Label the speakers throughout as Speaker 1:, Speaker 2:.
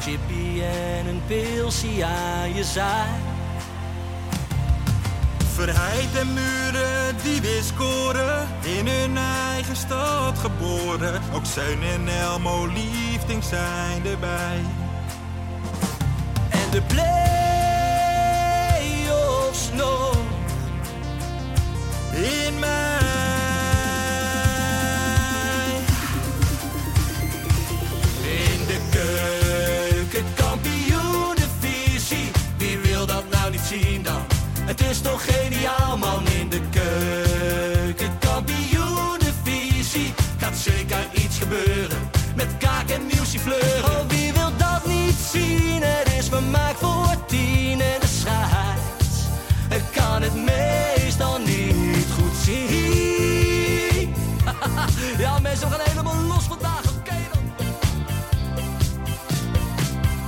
Speaker 1: Chippy en een pilsie aan je zaai.
Speaker 2: Verheid en muren die weer scoren, in hun eigen stad geboren. Ook Zeun en Elmo liefdings zijn erbij.
Speaker 1: En de play-offs nog.
Speaker 2: In mij.
Speaker 1: In de keuken, kampioenenvisie. Wie wil dat nou niet zien dan? Het is toch geniaal man in de keuken, kampioenenvisie. Gaat zeker iets gebeuren met kaak en muziek fleuren. Oh, wie wil dat niet zien? Het is vermaakt voor tien en de scheids. Ik kan het meestal niet goed zien. ja mensen, we gaan helemaal los vandaag, oké dan.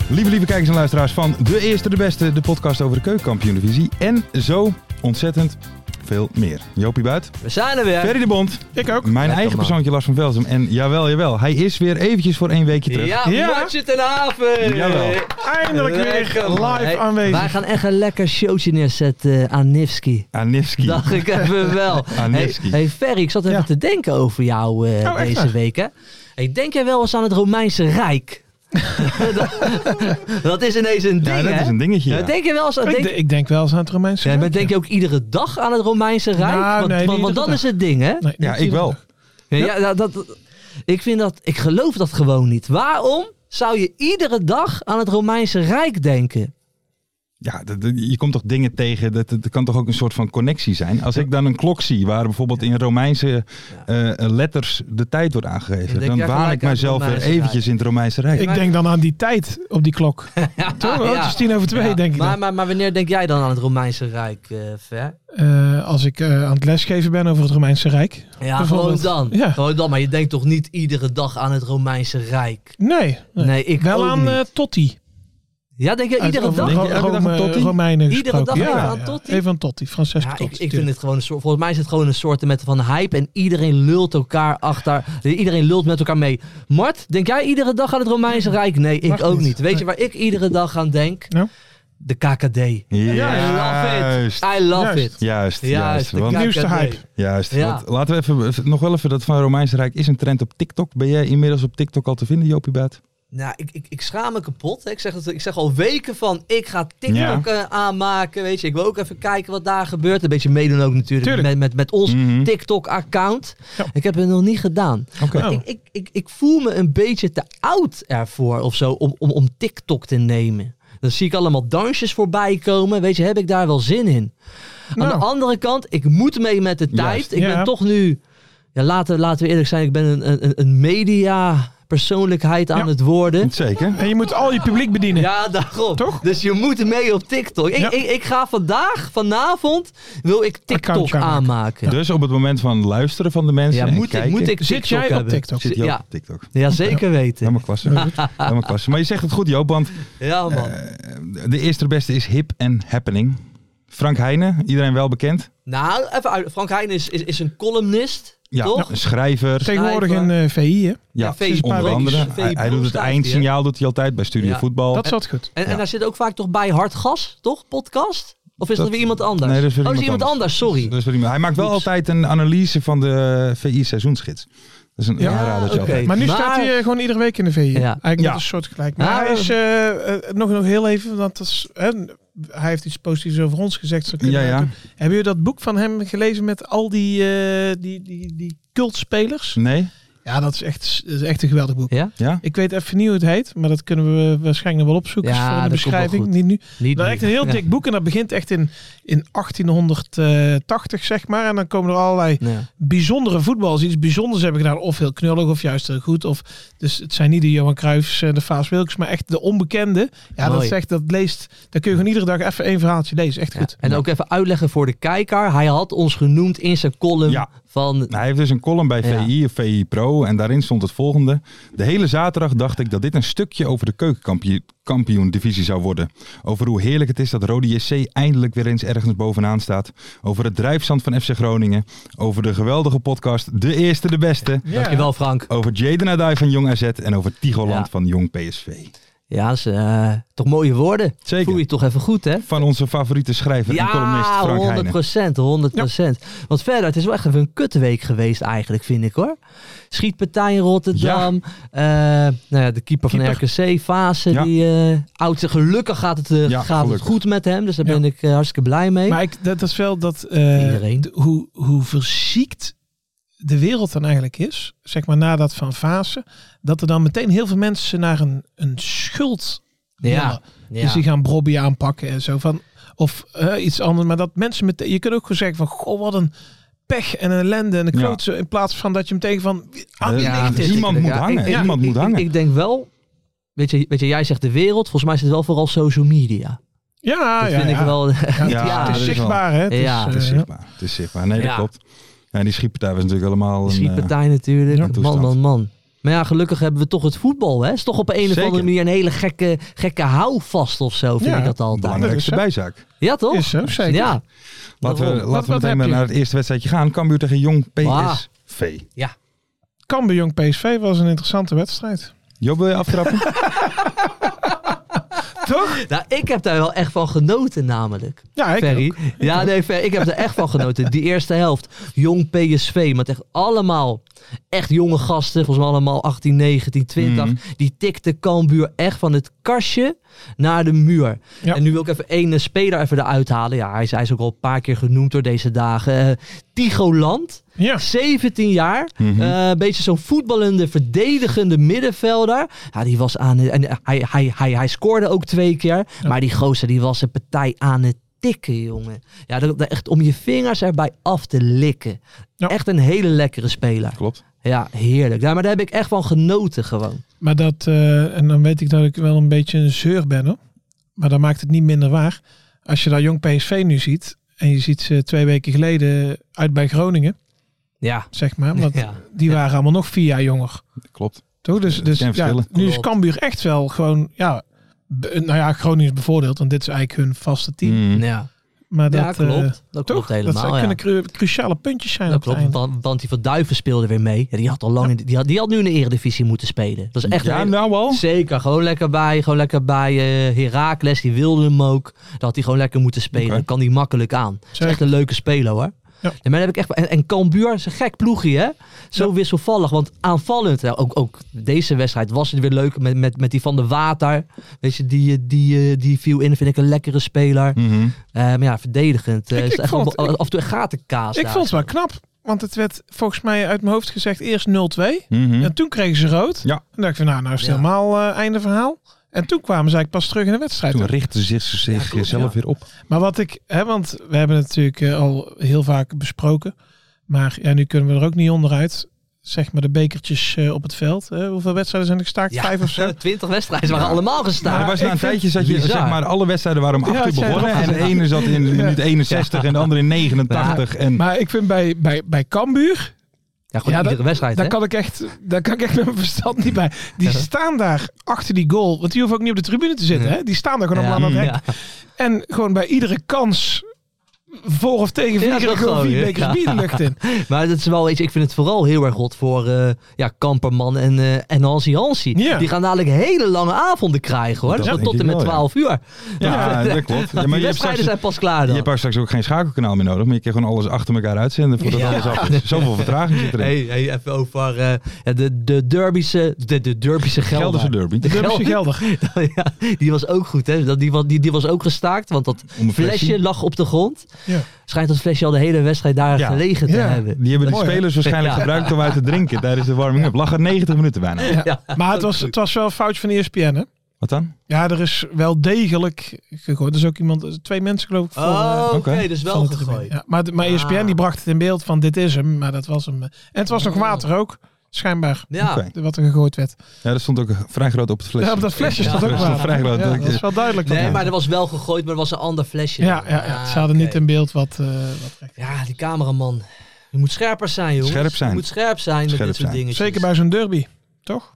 Speaker 3: Lieve, lieve kijkers en luisteraars van De Eerste de Beste, de podcast over de keukenkampioendivisie. En zo ontzettend veel meer. Jopie Buit,
Speaker 4: We zijn er weer.
Speaker 3: Ferry de Bond,
Speaker 5: Ik ook.
Speaker 3: mijn
Speaker 4: Lekker,
Speaker 3: eigen
Speaker 4: man.
Speaker 3: persoontje Lars van Velsen. En jawel, jawel, hij is weer eventjes voor één weekje terug.
Speaker 4: Ja,
Speaker 5: Ja.
Speaker 4: Martje ten Haven.
Speaker 3: Jawel.
Speaker 5: Eindelijk weer
Speaker 4: Lekker, man.
Speaker 5: live
Speaker 4: Hey,
Speaker 5: aanwezig.
Speaker 4: Wij gaan echt een lekker showtje neerzetten eh, aan Nifsky.
Speaker 3: Anifsky.
Speaker 4: Dacht ik even wel.
Speaker 3: Aan
Speaker 4: hey,
Speaker 3: Nifsky.
Speaker 4: hey Ferry, ik zat even
Speaker 5: Ja.
Speaker 4: te denken over jou eh,
Speaker 5: Oh, echt
Speaker 4: deze
Speaker 5: waar?
Speaker 4: week. Hè? Ik denk jij wel eens aan het Romeinse Rijk. dat, dat is ineens een ding,
Speaker 3: Ja, dat
Speaker 4: hè?
Speaker 3: is een dingetje.
Speaker 4: Ja,
Speaker 3: ja.
Speaker 4: denk je wel eens aan...
Speaker 5: Ik,
Speaker 4: Denk,
Speaker 5: de- ik denk wel eens aan het Romeinse.
Speaker 4: ja, maar
Speaker 5: Rijk,
Speaker 4: denk je ook iedere dag aan het Romeinse Rijk?
Speaker 5: Nou,
Speaker 4: want
Speaker 5: nee, niet
Speaker 4: want, want
Speaker 5: iedere
Speaker 4: dat is het ding, hè?
Speaker 5: Nee,
Speaker 3: Ja,
Speaker 5: niet
Speaker 3: ik wel.
Speaker 4: Ja, ja, nou, dat, ik vind dat, ik geloof dat gewoon niet. Waarom zou je iedere dag aan het Romeinse Rijk denken?
Speaker 3: Ja, dat- dat- je komt toch dingen tegen. Dat, dat kan toch ook een soort van connectie zijn. Als ik dan een klok zie waar bijvoorbeeld in Romeinse eh, letters de tijd wordt aangegeven,
Speaker 4: Dan denk
Speaker 3: dan
Speaker 4: jij
Speaker 3: waan
Speaker 4: gelijk
Speaker 3: ik
Speaker 4: aan het
Speaker 3: mijzelf weer
Speaker 4: Romeinse
Speaker 3: eventjes in het Romeinse Rijk.
Speaker 5: Ik denk dan aan die tijd op die klok.
Speaker 4: Ja,
Speaker 5: Toch? Oh, Het is tien over twee,
Speaker 4: Ja,
Speaker 5: denk ik.
Speaker 4: maar,
Speaker 5: dan.
Speaker 4: maar, maar wanneer denk jij dan aan het Romeinse Rijk, eh, Ver?
Speaker 5: Eh, als ik eh, aan het lesgeven ben over het Romeinse Rijk.
Speaker 4: Ja, gewoon
Speaker 5: Bijvoorbeeld.
Speaker 4: dan.
Speaker 5: Ja.
Speaker 4: Gewoon dan, maar je denkt toch niet iedere dag aan het Romeinse Rijk?
Speaker 5: Nee. nee.
Speaker 4: Nee, ik
Speaker 5: wel
Speaker 4: ook
Speaker 5: aan
Speaker 4: niet.
Speaker 5: eh, Totti.
Speaker 4: ja, denk je iedere
Speaker 5: Uit-
Speaker 4: dag?
Speaker 5: Ro-
Speaker 3: Denk je elke dag aan
Speaker 5: Rome-
Speaker 3: Totti?
Speaker 5: Romeinen
Speaker 4: Iedere
Speaker 5: gesproken.
Speaker 4: dag
Speaker 5: ja,
Speaker 4: even aan
Speaker 5: ja.
Speaker 4: Totti?
Speaker 5: Even aan Totti. Francesco
Speaker 4: Ja, ik,
Speaker 5: Totti.
Speaker 4: ik vind het gewoon een soort. Volgens mij is het gewoon een soort met van hype. En iedereen lult elkaar achter. Iedereen lult met elkaar mee. Mart, denk jij iedere dag aan het Romeinse Rijk? Nee, ik
Speaker 5: Mag
Speaker 4: ook niet.
Speaker 5: niet.
Speaker 4: Weet je
Speaker 5: Nee.
Speaker 4: waar ik iedere dag aan denk?
Speaker 5: Nou?
Speaker 4: De KKD.
Speaker 3: Juist.
Speaker 4: I love it. I love
Speaker 5: Juist.
Speaker 4: it. Juist,
Speaker 3: Juist, juist.
Speaker 4: de
Speaker 3: Want,
Speaker 4: KKD.
Speaker 5: Nieuwste hype.
Speaker 3: juist
Speaker 4: Ja.
Speaker 3: want laten we even, even- nog wel even dat van Romeinse Rijk is een trend op TikTok. Ben jij inmiddels op TikTok al te vinden, Jopie Baat?
Speaker 4: Nou, ik, ik, ik schaam me kapot. hè. Ik zeg, het, ik zeg al weken van, ik ga TikTok eh, aanmaken. Weet je, ik wil ook even kijken wat daar gebeurt. Een beetje meedoen ook natuurlijk
Speaker 5: Tuurlijk.
Speaker 4: met, met, met ons
Speaker 3: Mhm.
Speaker 4: TikTok-account.
Speaker 5: Ja.
Speaker 4: Ik heb het nog niet gedaan.
Speaker 3: Oké.
Speaker 5: Oh.
Speaker 4: Ik, ik, ik, ik voel me een beetje te oud ervoor of zo om, om, om TikTok te nemen. Dan zie ik allemaal dansjes voorbij komen. Weet je, heb ik daar wel zin in?
Speaker 5: Nou.
Speaker 4: Aan de andere kant, ik moet mee met de tijd.
Speaker 3: Juist,
Speaker 4: ik ben
Speaker 5: ja.
Speaker 4: toch nu, ja, laten, laten we eerlijk zijn, ik ben een, een- een, een media persoonlijkheid aan
Speaker 5: Ja.
Speaker 4: het worden.
Speaker 3: Zeker.
Speaker 5: Nou, En je moet al je publiek bedienen.
Speaker 4: Ja, daarom.
Speaker 5: Toch?
Speaker 4: Dus je moet mee op TikTok. Ik,
Speaker 5: Ja.
Speaker 4: ik, ik ga vandaag, vanavond, wil ik TikTok
Speaker 5: Accountje aanmaken.
Speaker 4: aanmaken.
Speaker 3: Dus op het moment van luisteren van de mensen
Speaker 4: Ja,
Speaker 3: en
Speaker 4: moet ik,
Speaker 3: kijken,
Speaker 4: moet ik TikTok
Speaker 5: Zit jij op
Speaker 4: hebben.
Speaker 5: TikTok?
Speaker 3: zit Joop
Speaker 4: Ja.
Speaker 3: op TikTok.
Speaker 4: Ja, zeker weten.
Speaker 3: Helemaal klasse. Helemaal klasse. Maar je zegt het goed, Joop, want
Speaker 4: Ja, man.
Speaker 3: De eerste de beste is hip en happening. Frank Heijnen, iedereen wel bekend.
Speaker 4: Nou, even uit. Frank Heijn is, is, is een columnist,
Speaker 3: Ja,
Speaker 4: toch?
Speaker 3: een schrijver.
Speaker 5: Tegenwoordig
Speaker 4: Schrijver. Oh,
Speaker 5: in eh, VI, hè?
Speaker 3: Ja,
Speaker 4: Ja, Facebook.
Speaker 3: onder andere.
Speaker 4: Facebook
Speaker 3: Hij, hij doet het
Speaker 4: staat hij, hè?
Speaker 3: eindsignaal doet hij altijd bij Studio
Speaker 4: Ja.
Speaker 3: Voetbal.
Speaker 5: Dat zat goed.
Speaker 4: En, en
Speaker 3: Ja.
Speaker 4: daar zit ook vaak toch bij Hard Gas, toch? Podcast? Of is dat,
Speaker 3: Dat-
Speaker 4: weer iemand anders?
Speaker 3: Nee, dat is weer
Speaker 4: oh,
Speaker 3: iemand
Speaker 4: iemand anders, sorry.
Speaker 3: Dat is wel iemand. Hij maakt wel
Speaker 4: Oeps.
Speaker 3: altijd een analyse van de VI seizoensgids. Dat is een
Speaker 5: Ja,
Speaker 3: aanrader.
Speaker 4: oké.
Speaker 3: altijd.
Speaker 5: Maar nu
Speaker 4: Maar-
Speaker 5: staat hij eh, gewoon iedere week in de VI.
Speaker 4: Ja.
Speaker 5: Eigenlijk
Speaker 3: Ja.
Speaker 5: net een soort gelijk. Maar
Speaker 4: Ja,
Speaker 5: hij
Speaker 4: we-
Speaker 5: is eh, eh, nog, nog heel even, want dat is, hè, hij heeft iets positiefs over ons gezegd. Zo kunnen
Speaker 3: Ja,
Speaker 5: we
Speaker 3: ja.
Speaker 5: dat doen. Hebben jullie dat boek van hem gelezen met al die, eh die, die, die cultspelers?
Speaker 3: Nee?
Speaker 5: Ja, dat is echt, dat is echt een geweldig boek.
Speaker 4: Ja?
Speaker 3: Ja?
Speaker 5: Ik weet even niet hoe het heet, maar dat kunnen we waarschijnlijk nog wel opzoeken
Speaker 4: Ja,
Speaker 5: voor in de
Speaker 4: dat komt wel
Speaker 5: beschrijving.
Speaker 4: goed.
Speaker 5: Niet nu.
Speaker 4: Niet
Speaker 5: Dat is echt een heel
Speaker 4: ja.
Speaker 5: dik boek en dat begint echt in, in 1880, zeg maar. En dan komen er allerlei
Speaker 4: Ja.
Speaker 5: bijzondere voetballers die iets bijzonders hebben gedaan. Of heel knullig, of juist heel goed. Of, dus het zijn niet de Johan Cruijffs en de Faas Wilkes, maar echt de onbekende. Ja, dat
Speaker 4: Mooi.
Speaker 5: zegt, dat leest, daar kun je gewoon iedere dag even één verhaaltje lezen. Echt
Speaker 4: Ja.
Speaker 5: goed.
Speaker 3: nou.
Speaker 4: En ook even uitleggen voor de kijker. Hij had ons genoemd in zijn column
Speaker 3: Ja.
Speaker 4: van...
Speaker 3: Hij heeft dus een column bij
Speaker 4: Ja.
Speaker 3: VI of VI Pro en daarin stond het volgende. De hele zaterdag dacht ik dat dit een stukje over de keukenkampioen-divisie zou worden. Over hoe heerlijk het is dat Rode JC eindelijk weer eens ergens bovenaan staat. Over het drijfzand van FC Groningen. Over de geweldige podcast De Eerste de Beste.
Speaker 4: Dankjewel Frank.
Speaker 3: Over Jaden Adai van Jong AZ en over Tigoland
Speaker 4: Ja.
Speaker 3: van Jong PSV.
Speaker 4: Ja, dat is eh, toch mooie woorden.
Speaker 3: Zeker.
Speaker 4: Voel je toch even goed, hè?
Speaker 3: Van onze favoriete schrijver en columnist
Speaker 4: Ja,
Speaker 3: Frank
Speaker 4: 100
Speaker 3: Heijnen.
Speaker 4: procent, 100 Want verder, het is wel echt even een kutweek geweest eigenlijk, vind ik hoor. Schietpartij in Rotterdam. eh, nou ja, de keeper, van RKC, Fase,
Speaker 3: Ja,
Speaker 4: die eh oud. Gelukkig gaat het, eh,
Speaker 3: Ja,
Speaker 4: gaat
Speaker 3: gelukkig.
Speaker 4: het goed met hem, dus daar
Speaker 5: Ja.
Speaker 4: ben ik eh, hartstikke blij mee.
Speaker 5: Maar ik, dat, dat is wel dat eh,
Speaker 4: Iedereen.
Speaker 5: de- hoe, hoe verziekt de wereld dan eigenlijk is, zeg maar na dat van Fase, dat er dan meteen heel veel mensen naar een, een schuld willen.
Speaker 4: ja,
Speaker 5: Dus
Speaker 4: ja.
Speaker 5: die gaan Brobby aanpakken en zo van, of eh, iets anders. Maar dat mensen meteen, je kunt ook gewoon zeggen van, goh, wat een pech en een ellende en een
Speaker 3: Ja.
Speaker 5: klootse, in plaats van dat je meteen van, ah, die
Speaker 3: Ja,
Speaker 5: ligt dit.
Speaker 3: iemand moet
Speaker 4: Ja, dus ik-
Speaker 3: hangen.
Speaker 4: ik-
Speaker 3: Iemand
Speaker 4: ik-
Speaker 3: moet
Speaker 4: ik-
Speaker 3: hangen.
Speaker 4: Ik denk wel, weet je, weet je, jij zegt de wereld, volgens mij is het wel vooral social media.
Speaker 5: Ja,
Speaker 4: dat
Speaker 5: Ah, ja,
Speaker 4: vind
Speaker 5: ja.
Speaker 4: ik wel... Ja,
Speaker 3: Ja,
Speaker 5: Het
Speaker 3: dat
Speaker 5: is
Speaker 3: is wel-
Speaker 5: zichtbaar, hè? Het is,
Speaker 4: Ja.
Speaker 5: eh,
Speaker 3: Het is zichtbaar. Het is zichtbaar. Nee, dat
Speaker 4: Ja.
Speaker 3: klopt. Ja, die schietpartij was natuurlijk allemaal een...
Speaker 4: De
Speaker 3: eh,
Speaker 4: schietpartij natuurlijk.
Speaker 3: Ja,
Speaker 4: man,
Speaker 3: toestand.
Speaker 4: man, man. Maar ja, gelukkig hebben we toch het voetbal. Hè? Is toch op een of
Speaker 3: Zeker.
Speaker 4: andere manier een hele gekke, gekke houvast of zo, vind
Speaker 5: Ja,
Speaker 4: ik dat altijd.
Speaker 3: belangrijkste
Speaker 5: Dat
Speaker 3: bijzaak.
Speaker 4: Ja, toch?
Speaker 5: is zo, zeker.
Speaker 4: Ja.
Speaker 3: Laten we,
Speaker 4: Waarom?
Speaker 3: laten we
Speaker 5: wat
Speaker 3: meteen
Speaker 5: heb
Speaker 3: maar
Speaker 5: je?
Speaker 3: naar het eerste wedstrijdje gaan. Cambuur tegen Jong
Speaker 4: Ah.
Speaker 3: PSV.
Speaker 5: Cambuur Jong PSV was een interessante wedstrijd.
Speaker 3: Job, wil je aftrappen?
Speaker 4: Nou, ik heb daar wel echt van genoten namelijk.
Speaker 5: Ja, ik
Speaker 4: Ferry.
Speaker 5: ook.
Speaker 4: ja, nee, Ferry, ik heb er echt van genoten. Die eerste helft. Jong PSV. Met echt allemaal echt jonge gasten. Volgens mij allemaal 18, 19, 20.
Speaker 3: Mhm.
Speaker 4: Die tikte Cambuur echt van het kastje naar de muur.
Speaker 5: Ja.
Speaker 4: En nu wil ik even één eh, speler even eruit halen. Ja, hij is, hij is ook al een paar keer genoemd door deze dagen. Eh, Tigo Land.
Speaker 5: Ja. Mhm.
Speaker 4: 17 jaar. Eh, een beetje zo'n voetballende, verdedigende middenvelder. Ja, die was aan het, en hij, hij, hij, hij scoorde ook twee keer. Maar die gozer die was een partij aan het tikken, jongen. Ja, dat, dat echt om je vingers erbij af te likken.
Speaker 5: Ja.
Speaker 4: Echt een hele lekkere speler.
Speaker 3: Klopt.
Speaker 4: Ja, heerlijk. Ja, maar daar heb ik echt van genoten gewoon.
Speaker 5: Maar dat, eh, en dan weet ik dat ik wel een beetje een zeur ben, hoor. maar dat maakt het niet minder waar. Als je daar jong PSV nu ziet, en je ziet ze twee weken geleden uit bij Groningen,
Speaker 4: Ja.
Speaker 5: zeg maar, want
Speaker 4: Ja.
Speaker 5: die waren allemaal nog vier jaar jonger.
Speaker 3: Klopt.
Speaker 5: Toch? Dus, dus
Speaker 3: zijn
Speaker 5: ja,
Speaker 3: verschillen.
Speaker 5: nu is
Speaker 4: Klopt.
Speaker 5: Cambuur echt wel gewoon, ja, be- nou ja, Groningen is bevoordeeld, want dit is eigenlijk hun vaste team.
Speaker 3: Mm.
Speaker 4: Ja,
Speaker 5: Maar
Speaker 4: ja
Speaker 5: Hm. dat, eh,
Speaker 4: klopt. Dat
Speaker 5: toch?
Speaker 4: klopt helemaal.
Speaker 5: dat
Speaker 4: ja.
Speaker 5: kunnen cru- cruciale puntjes zijn
Speaker 4: Dat
Speaker 5: op het
Speaker 4: klopt,
Speaker 5: eind.
Speaker 4: want, want die van Duiven speelde weer mee. Ja, die, had al lang in, die, had, die had nu in de eredivisie moeten spelen. Dat is echt
Speaker 3: Ja,
Speaker 4: een-
Speaker 3: nou
Speaker 5: Oh.
Speaker 3: al.
Speaker 4: Zeker, gewoon lekker bij, gewoon lekker bij eh Herakles. Die wilde hem ook. Dat had hij gewoon lekker moeten spelen.
Speaker 3: Oké.
Speaker 4: Dan kan hij makkelijk aan. Dat is
Speaker 5: Zeker.
Speaker 4: echt een leuke speler hoor.
Speaker 5: Ja.
Speaker 4: En, maar dan heb ik echt, en, en Cambuur is een gek ploegje hè. Zo wisselvallig, want aanvallend. hè, Ook, ook deze wedstrijd was het weer leuk met, met, met die van de Water. Weet je, die, eh, die, eh, die viel in, vind ik een lekkere speler.
Speaker 3: Mhm.
Speaker 4: Eh, maar ja, verdedigend. eh,
Speaker 5: Ik-
Speaker 4: is
Speaker 5: ik
Speaker 4: echt wel-
Speaker 5: vond- ik-
Speaker 4: af en toe gatenkaas
Speaker 5: Ik
Speaker 4: daar.
Speaker 5: vond het wel knap, want het werd volgens mij uit mijn hoofd gezegd eerst 0-2.
Speaker 3: Mhm.
Speaker 5: En toen kregen ze rood.
Speaker 3: Ja.
Speaker 5: En toen dacht ik van, nou, nou is het
Speaker 4: Mm. Ja.
Speaker 5: helemaal eh, einde verhaal. En toen kwamen ze eigenlijk pas terug in de wedstrijd.
Speaker 3: Toen richtte zich ze zich
Speaker 4: Ja, klopt,
Speaker 3: zelf
Speaker 4: ja. Nou,
Speaker 3: weer op.
Speaker 5: Maar wat ik, hè, want we hebben het natuurlijk eh, al heel vaak besproken. Maar ja, nu kunnen we er ook niet onderuit. Zeg maar de bekertjes eh, op het veld. Eh, hoeveel wedstrijden zijn er gestaakt?
Speaker 4: Ja.
Speaker 5: Vijf of zo?
Speaker 4: 20 wedstrijden waren allemaal
Speaker 3: Maar
Speaker 4: gestaan.
Speaker 3: er was na een tijdje zat je,
Speaker 4: bizar.
Speaker 3: zeg maar, alle wedstrijden waren om 8
Speaker 5: Ja,
Speaker 3: uur
Speaker 5: het zijn
Speaker 3: begonnen.
Speaker 5: er
Speaker 3: En de ene zat in minuut 61 en de andere in 89. En
Speaker 5: Maar ik vind bij, bij, bij Cambuur,
Speaker 4: Ja, gewoon
Speaker 5: Ja, dat-
Speaker 4: iedere wedstrijd
Speaker 5: daar
Speaker 4: hè?
Speaker 5: kan, ik echt, daar kan ik echt met mijn verstand niet bij. Die staan daar achter die goal. Want die hoeven ook niet op de tribune te zitten.
Speaker 4: Nee.
Speaker 5: Hè? Die staan daar gewoon
Speaker 4: Ja.
Speaker 5: allemaal aan het hek.
Speaker 4: Ja.
Speaker 5: En gewoon bij iedere kans voor of tegen
Speaker 4: Ja,
Speaker 5: vliegen er
Speaker 4: dat
Speaker 5: gewoon
Speaker 4: gewoon,
Speaker 5: vier
Speaker 4: ja.
Speaker 5: bekers bier de lucht in.
Speaker 4: Maar dat is wel, weet je, ik vind het vooral heel erg rot voor eh, ja, Kamperman en, eh en Hansi Hansi.
Speaker 5: Ja.
Speaker 4: Die gaan dadelijk hele lange avonden krijgen hoor.
Speaker 3: Dat
Speaker 4: Dus tot,
Speaker 3: denk ik
Speaker 4: en met
Speaker 3: wel, ja.
Speaker 4: 12 uur.
Speaker 3: ja, dat klopt. Ja, maar
Speaker 4: die
Speaker 3: je hebt,
Speaker 4: wedstrijden
Speaker 3: straks,
Speaker 4: zijn pas klaar
Speaker 3: je
Speaker 4: dan.
Speaker 3: hebt ook straks ook geen schakelkanaal meer nodig. Maar je kan gewoon alles achter elkaar uitzenden voordat
Speaker 4: Ja.
Speaker 3: alles af is. Zoveel vertraging zit erin.
Speaker 4: Hey, hey, even over eh, ja, de, de Derbysche, de, de Derbysche Gelder.
Speaker 3: Gelderse derby.
Speaker 4: De
Speaker 5: Dubbeltje geldig.
Speaker 4: ja, die was ook goed hè. Dat- Die, was- die, die was ook gestaakt, want dat
Speaker 3: Om een
Speaker 4: flesje
Speaker 3: flesje.
Speaker 4: lag op de grond.
Speaker 5: Ja.
Speaker 4: Schijnt dat flesje al de hele wedstrijd daar
Speaker 3: Ja.
Speaker 4: gelegen te
Speaker 5: Ja.
Speaker 4: hebben.
Speaker 3: Die hebben de
Speaker 5: Mooi, hè?
Speaker 3: spelers waarschijnlijk
Speaker 4: Ja.
Speaker 3: gebruikt om uit te drinken tijdens de warming-up. Lag er 90 minuten bijna.
Speaker 5: Maar het was, het was wel een fout van E ESPN, hè?
Speaker 3: Wat dan?
Speaker 5: Ja, er is wel degelijk gegooid. Er is ook iemand, twee mensen geloof ik, voor... eh,
Speaker 4: Oh, oké,
Speaker 3: oké.
Speaker 4: dus
Speaker 5: van
Speaker 4: wel
Speaker 5: de tribune.
Speaker 4: gegooid. Ah.
Speaker 5: Ja, maar, E de- maar ESPN die bracht het in beeld van dit is hem, maar dat was hem. eh. En het was nog
Speaker 4: Oh.
Speaker 5: water ook, schijnbaar,
Speaker 4: Ja,
Speaker 3: Oké.
Speaker 5: wat er gegooid werd.
Speaker 3: Ja, dat stond ook vrij groot op het flesje.
Speaker 5: Ja, op dat flesje
Speaker 4: Ja.
Speaker 5: staat
Speaker 3: Dat
Speaker 5: ook
Speaker 3: is wel
Speaker 5: water.
Speaker 3: vrij groot.
Speaker 5: Ja, dat is wel duidelijk. dat
Speaker 4: nee,
Speaker 5: het-
Speaker 4: maar er was wel gegooid, maar er was een ander flesje.
Speaker 5: ja,
Speaker 4: dan.
Speaker 5: ja, ja,
Speaker 4: Ah,
Speaker 5: ze hadden
Speaker 4: oké.
Speaker 5: niet in beeld wat... eh, wat recht.
Speaker 4: Ja, die cameraman. Je moet scherper zijn, jongens.
Speaker 3: Scherp zijn.
Speaker 4: Je moet scherp zijn met
Speaker 3: Scherp
Speaker 4: dit soort
Speaker 3: zijn.
Speaker 4: dingen.
Speaker 5: Zeker bij zo'n derby, toch?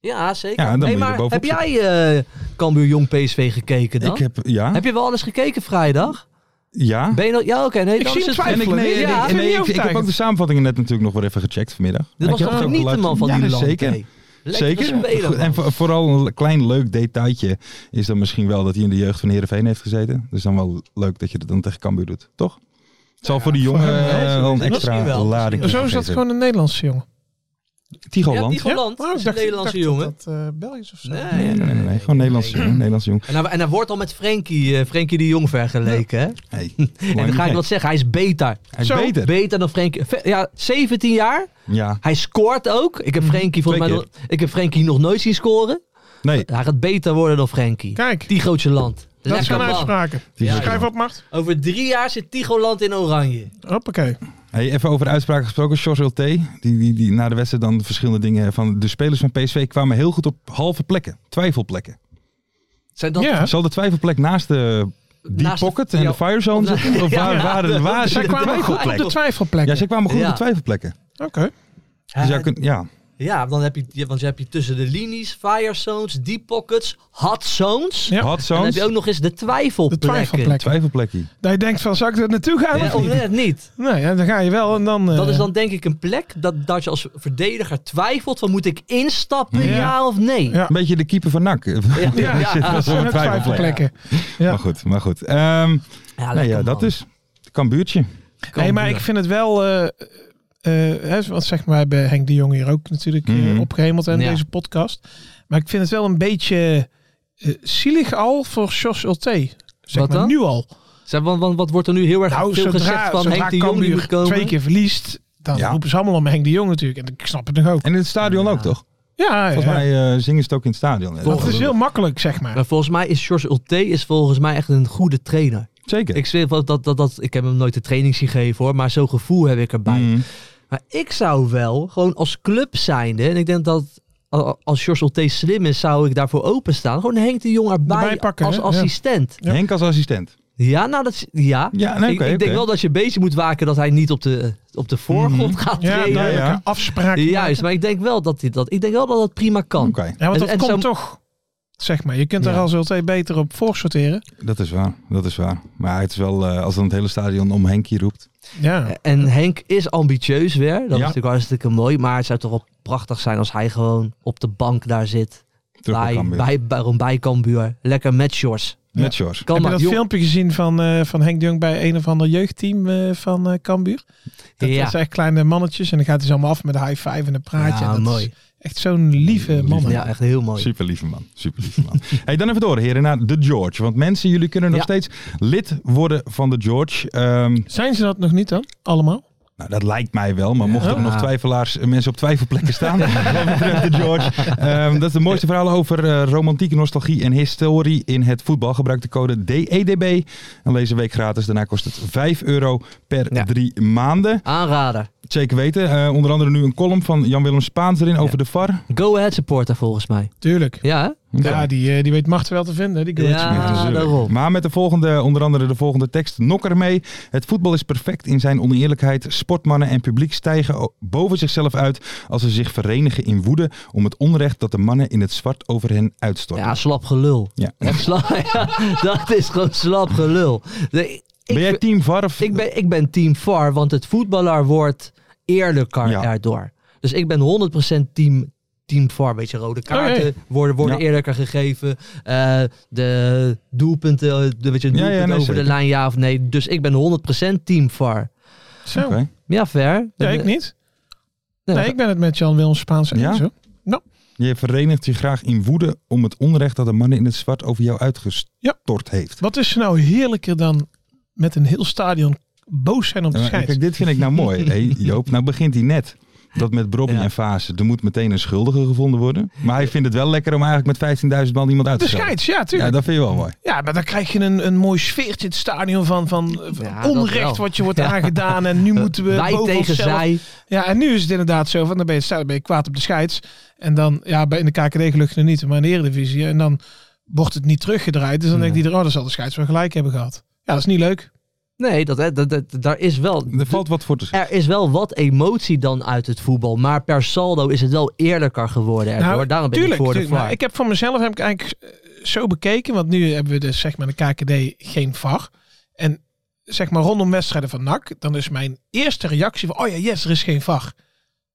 Speaker 4: Ja, zeker.
Speaker 3: Ja, dan
Speaker 4: hey,
Speaker 3: moet je er
Speaker 4: maar heb
Speaker 3: bovenop
Speaker 4: jij eh Cambuur Jong PSV gekeken dan?
Speaker 3: Ik heb, ja,
Speaker 4: Heb je wel alles gekeken vrijdag?
Speaker 3: ja.
Speaker 4: Ben je nog- Ja, oké. nee,
Speaker 5: Ik
Speaker 4: dan
Speaker 5: zie
Speaker 4: is
Speaker 5: hem
Speaker 4: het...
Speaker 3: En ik,
Speaker 5: twijfelen.
Speaker 3: nee,
Speaker 4: Ja,
Speaker 3: en ik-
Speaker 4: vind
Speaker 3: en
Speaker 5: je
Speaker 3: nee,
Speaker 5: niet
Speaker 3: ik, ik heb
Speaker 5: overtuigend?
Speaker 3: ook de samenvattingen net natuurlijk nog wel even gecheckt vanmiddag.
Speaker 4: Dit
Speaker 3: Ik
Speaker 4: was
Speaker 3: heb het
Speaker 4: toch
Speaker 3: ook
Speaker 4: niet de
Speaker 3: geluisterd.
Speaker 4: man van
Speaker 3: Ja,
Speaker 4: die land.
Speaker 3: zeker.
Speaker 4: hey. Lekkere
Speaker 3: Zeker.
Speaker 4: speler, man.
Speaker 3: en vo- vooral een klein leuk detailtje is dan misschien wel dat hij in de jeugd van Heerenveen heeft gezeten. Dus dan wel leuk dat je dat dan tegen Cambuur doet, toch? Het zal voor die jongen
Speaker 5: voor hem wel.
Speaker 3: eh, wel een
Speaker 4: Misschien
Speaker 3: extra
Speaker 4: wel,
Speaker 3: lading
Speaker 4: misschien
Speaker 5: Zo is dat
Speaker 3: geven.
Speaker 5: gewoon een Nederlandse jongen.
Speaker 3: Tigo
Speaker 4: Ja,
Speaker 3: Land.
Speaker 4: die Holland.
Speaker 5: Oh, ik
Speaker 4: is een
Speaker 5: dacht- ik
Speaker 4: Nederlandse
Speaker 5: dacht
Speaker 4: jongen.
Speaker 5: Dat, dat eh, Belgisch of zo.
Speaker 4: Nee,
Speaker 3: Nee, nee, nee, nee, nee. Gewoon Nederlandse jongen. Nederlandse jongen.
Speaker 4: En hij, en hij wordt al met Frenkie, eh, Frenkie de Jong vergeleken. Hè?
Speaker 3: Hey,
Speaker 4: En dan ga ik wat zeggen, hij is beter.
Speaker 3: Hij is
Speaker 5: Zo.
Speaker 3: beter.
Speaker 4: Beter dan Frenkie. Ve- Ja, 17 jaar.
Speaker 3: Ja.
Speaker 4: Hij scoort ook. Ik heb Frenkie, volgens mij,
Speaker 3: Mhm. Twee
Speaker 4: nog, ik heb Frenkie nog nooit zien scoren.
Speaker 3: Nee.
Speaker 4: Hij gaat beter worden dan Frenkie.
Speaker 5: Kijk,
Speaker 4: Die grootje land.
Speaker 5: dat
Speaker 4: Lekker
Speaker 5: zijn
Speaker 4: man.
Speaker 5: uitspraken.
Speaker 3: Die
Speaker 4: Ja,
Speaker 5: Schrijf
Speaker 3: ja.
Speaker 5: op, Mart.
Speaker 4: Over drie jaar zit Tigoland in oranje.
Speaker 5: Hoppakee.
Speaker 3: Hey, even over uitspraken gesproken. Sjors Ulte, die, die, die na de wedstrijd dan verschillende dingen van de spelers van PSV kwamen heel goed op halve plekken. Twijfelplekken.
Speaker 4: Zijn dat...
Speaker 5: ja,
Speaker 3: Zal de twijfelplek naast de deep
Speaker 4: Naast de-
Speaker 3: pocket en
Speaker 4: ja.
Speaker 3: de firezone
Speaker 4: Ja.
Speaker 3: zitten? Of waar, waar, waar,
Speaker 5: zij
Speaker 3: zit de
Speaker 5: kwamen goed op
Speaker 3: twijfelplek?
Speaker 5: de twijfelplek.
Speaker 3: Ja, ze kwamen goed op
Speaker 4: Ja.
Speaker 3: de twijfelplekken.
Speaker 5: Oké.
Speaker 3: Dus
Speaker 4: Ja,
Speaker 3: jij kunt, ja.
Speaker 4: ja, dan heb je, ja, want je hebt je tussen de linies, fire zones, deep pockets, hot zones.
Speaker 5: Ja.
Speaker 3: Had
Speaker 4: En dan
Speaker 3: zo'n
Speaker 4: heb je ook nog eens de
Speaker 5: De
Speaker 4: twijfelplekken.
Speaker 5: twijfelplek.
Speaker 3: twijfelplekje.
Speaker 5: Dat je denkt van, zou ik er naartoe gaan?
Speaker 4: Ja,
Speaker 5: of
Speaker 4: of
Speaker 5: niet?
Speaker 4: net niet.
Speaker 5: Nee, ja, dan ga je wel en dan... eh,
Speaker 4: Dat is dan denk ik een plek dat, dat je als verdediger twijfelt van moet ik instappen, ja,
Speaker 5: Ja.
Speaker 4: of nee?
Speaker 5: Ja.
Speaker 3: Een beetje de keeper van NAC.
Speaker 4: Ja.
Speaker 5: dat zijn ook twijfelplekken. Ja.
Speaker 3: Maar goed, maar goed. Ehm,
Speaker 4: Ja,
Speaker 3: nou
Speaker 4: Ah, lekker
Speaker 3: ja,
Speaker 4: man.
Speaker 3: dat is Kambuurtje.
Speaker 4: Kan
Speaker 5: nee, maar
Speaker 4: gebeuren.
Speaker 5: ik vind het wel... eh eh, hè, want zeg maar, wij hebben Henk de Jong hier ook natuurlijk eh,
Speaker 3: Mhm.
Speaker 5: opgehemeld in
Speaker 4: Ja.
Speaker 5: deze podcast. Maar ik vind het wel een beetje eh, zielig al voor Jos Ulte. Zeg
Speaker 4: Wat
Speaker 5: maar,
Speaker 4: dan?
Speaker 5: nu al.
Speaker 4: Zeg, want, want wat wordt er nu heel erg
Speaker 5: Nou,
Speaker 4: veel
Speaker 5: zodra,
Speaker 4: gezegd van
Speaker 5: zodra
Speaker 4: Henk de Jong die
Speaker 5: Cambuur
Speaker 4: moet komen?
Speaker 5: twee keer verliest, dan
Speaker 3: Ja.
Speaker 5: roepen ze allemaal om Henk de Jong natuurlijk. En ik snap het nog ook.
Speaker 3: En in het stadion ook, toch?
Speaker 5: Ja, ja.
Speaker 3: Volgens mij eh, zingen ze het ook in het stadion. hè?
Speaker 5: dat is heel makkelijk, zeg maar.
Speaker 4: Maar volgens mij is George Ulte is volgens mij echt een goede trainer.
Speaker 3: Zeker.
Speaker 4: Ik zweer dat, dat, dat, dat ik heb hem nooit de training zien geven hoor, maar zo'n gevoel heb ik erbij.
Speaker 5: Mhm.
Speaker 3: Mm.
Speaker 4: Maar ik zou wel gewoon als club zijnde, en ik denk dat al- als George Ulte slim is, zou ik daarvoor openstaan. Gewoon Henk de Jong erbij,
Speaker 5: Erbij pakken,
Speaker 4: als
Speaker 5: hè? Ja.
Speaker 4: assistent.
Speaker 5: Ja.
Speaker 3: Henk als assistent.
Speaker 4: Ja, nou dat is- ja.
Speaker 3: Ja, nee,
Speaker 4: ik,
Speaker 3: oké,
Speaker 4: ik denk
Speaker 3: oké.
Speaker 4: wel dat je bezig moet waken dat hij niet op de, op de voorgrond gaat
Speaker 5: Ja,
Speaker 4: treden.
Speaker 5: duidelijke
Speaker 3: Mhm. ja.
Speaker 5: afspraken.
Speaker 4: Juist, maar ik denk wel dat dit, dat, ik denk wel dat dat prima kan.
Speaker 3: Oké,
Speaker 5: Ja, want
Speaker 4: En-
Speaker 5: dat
Speaker 4: en
Speaker 5: komt
Speaker 4: zo-
Speaker 5: toch. Zeg maar, je kunt er
Speaker 4: Ja.
Speaker 5: als LT beter op voor sorteren.
Speaker 3: dat is waar. Dat is waar. Maar het is wel, eh, als dan het hele stadion om Henkie roept.
Speaker 5: Ja.
Speaker 4: En Henk is ambitieus weer. Dat is natuurlijk hartstikke mooi. Maar het zou toch wel prachtig zijn als hij gewoon op de bank daar zit.
Speaker 3: Terug naar
Speaker 4: bij,
Speaker 3: Cambuur.
Speaker 4: bij, bij, rond bij Cambuur. Lekker met Shores.
Speaker 3: Met Sjors.
Speaker 4: Kan
Speaker 5: Heb je
Speaker 4: maar,
Speaker 5: dat
Speaker 4: jong-
Speaker 5: filmpje gezien van, eh, van Henk de Jong bij een of ander jeugdteam eh, van eh Cambuur? Dat
Speaker 4: Ja.
Speaker 5: zijn echt kleine mannetjes en dan gaat hij ze allemaal af met een high five en een praatje.
Speaker 4: Ja,
Speaker 5: En dat
Speaker 4: mooi.
Speaker 5: is echt zo'n lieve man.
Speaker 4: Ja, echt heel mooi.
Speaker 3: Super lieve man. Super lieve man. hey, dan even door, heren, naar de George. Want mensen, jullie kunnen nog
Speaker 4: Ja.
Speaker 3: steeds lid worden van de George. Ehm,
Speaker 5: Zijn ze dat nog niet dan? Allemaal?
Speaker 3: nou, dat lijkt mij wel. Maar mochten er
Speaker 4: Ja.
Speaker 3: nog twijfelaars, eh, mensen op twijfelplekken staan, wat betreft de George. Ehm, dat is de mooiste verhaal over eh, romantiek, nostalgie en historie in het voetbal. Gebruik de code DEDB. En deze week gratis. Daarna kost het 5 euro per
Speaker 4: Ja.
Speaker 3: drie maanden.
Speaker 4: Aanrader.
Speaker 3: Zeker weten. Eh, onder andere nu een column van Jan-Willem Spaans erin over de VAR.
Speaker 4: Go ahead supporter volgens mij.
Speaker 5: Tuurlijk.
Speaker 4: Ja, hè?
Speaker 5: Ja, die, eh, die weet Mart wel te vinden. Die girl.
Speaker 4: Ja, daarom.
Speaker 3: Maar met de volgende, onder andere de volgende tekst, nok ermee. Het voetbal is perfect in zijn oneerlijkheid. Sportmannen en publiek stijgen o- boven zichzelf uit als ze zich verenigen in woede om het onrecht dat de mannen in het zwart over hen uitstorten.
Speaker 4: Ja, slap gelul.
Speaker 3: Ja.
Speaker 4: Echt slap, ja, dat is gewoon slap gelul. Nee, ik,
Speaker 3: ben jij team VAR of-
Speaker 4: Ik ben, ik ben team VAR, want het voetballer wordt eerlijker
Speaker 3: Ja.
Speaker 4: daardoor. Dus ik ben 100% team, team VAR. Weet je,
Speaker 5: Oh,
Speaker 4: rode kaarten
Speaker 5: Oké.
Speaker 4: worden, worden
Speaker 3: Ja.
Speaker 4: eerlijker gegeven. Eh, de doelpunten, de, weet je,
Speaker 3: Ja, ja,
Speaker 4: doelpunt
Speaker 3: nee,
Speaker 4: over
Speaker 3: zeker.
Speaker 4: de lijn, ja of nee. Dus ik ben 100% team VAR.
Speaker 5: Zo.
Speaker 3: Oké.
Speaker 4: Ja, ver.
Speaker 5: Ja, ik niet.
Speaker 4: Nee,
Speaker 5: Nee, ik ben het met Jan-Willem Spaans eens
Speaker 3: Ja?
Speaker 5: hoor.
Speaker 3: Je verenigt je graag in woede om het onrecht dat de mannen in het zwart over jou uitgestort heeft.
Speaker 5: Wat is er nou heerlijker dan met een heel stadion boos zijn op de
Speaker 3: Ja, maar
Speaker 5: scheids.
Speaker 3: Kijk, dit vind ik nou mooi. Hé, Joop, nou begint hij net. Dat met Brobby en Fase, er moet meteen een schuldige gevonden worden. Maar hij vindt het wel lekker om eigenlijk met 15.000 man iemand uit te
Speaker 5: De
Speaker 3: schelden.
Speaker 5: scheids, ja,
Speaker 3: Ja,
Speaker 5: tuurlijk.
Speaker 3: dat vind je wel mooi.
Speaker 5: Ja, maar dan krijg je een, een mooi sfeertje in het stadion van, van eh,
Speaker 4: Ja, dat wel.
Speaker 5: onrecht wat je wordt
Speaker 4: Ja.
Speaker 5: aangedaan. En nu moeten we
Speaker 4: Eh, Wij
Speaker 5: boven
Speaker 4: tegen
Speaker 5: onszelf.
Speaker 4: zij.
Speaker 5: Ja, en nu is het inderdaad zo van dan ben je, dan ben je kwaad op de scheids. En dan, ja, bij- in de KKD gelukkig nog niet, maar in de Eredivisie. En dan wordt het niet teruggedraaid. Dus dan denkt iedereen, oh, dan zal de scheids wel gelijk hebben gehad. Ja, dat is niet leuk.
Speaker 4: Nee, dat, dat, dat, daar is wel...
Speaker 3: Er valt wat voor te zeggen.
Speaker 4: Er is wel wat emotie dan uit het voetbal. Maar per saldo is het wel eerlijker geworden. Erwin, hoor. Daarom ben
Speaker 5: Nou, tuurlijk,
Speaker 4: ik voor de
Speaker 5: tuurlijk, maar
Speaker 4: VAR.
Speaker 5: ik heb voor mezelf heb ik eigenlijk eh, zo bekeken, want nu hebben we dus zeg maar in de KKD geen VAR. En zeg maar rondom wedstrijden van NAC, dan is mijn eerste reactie van, oh ja, yes, er is geen VAR.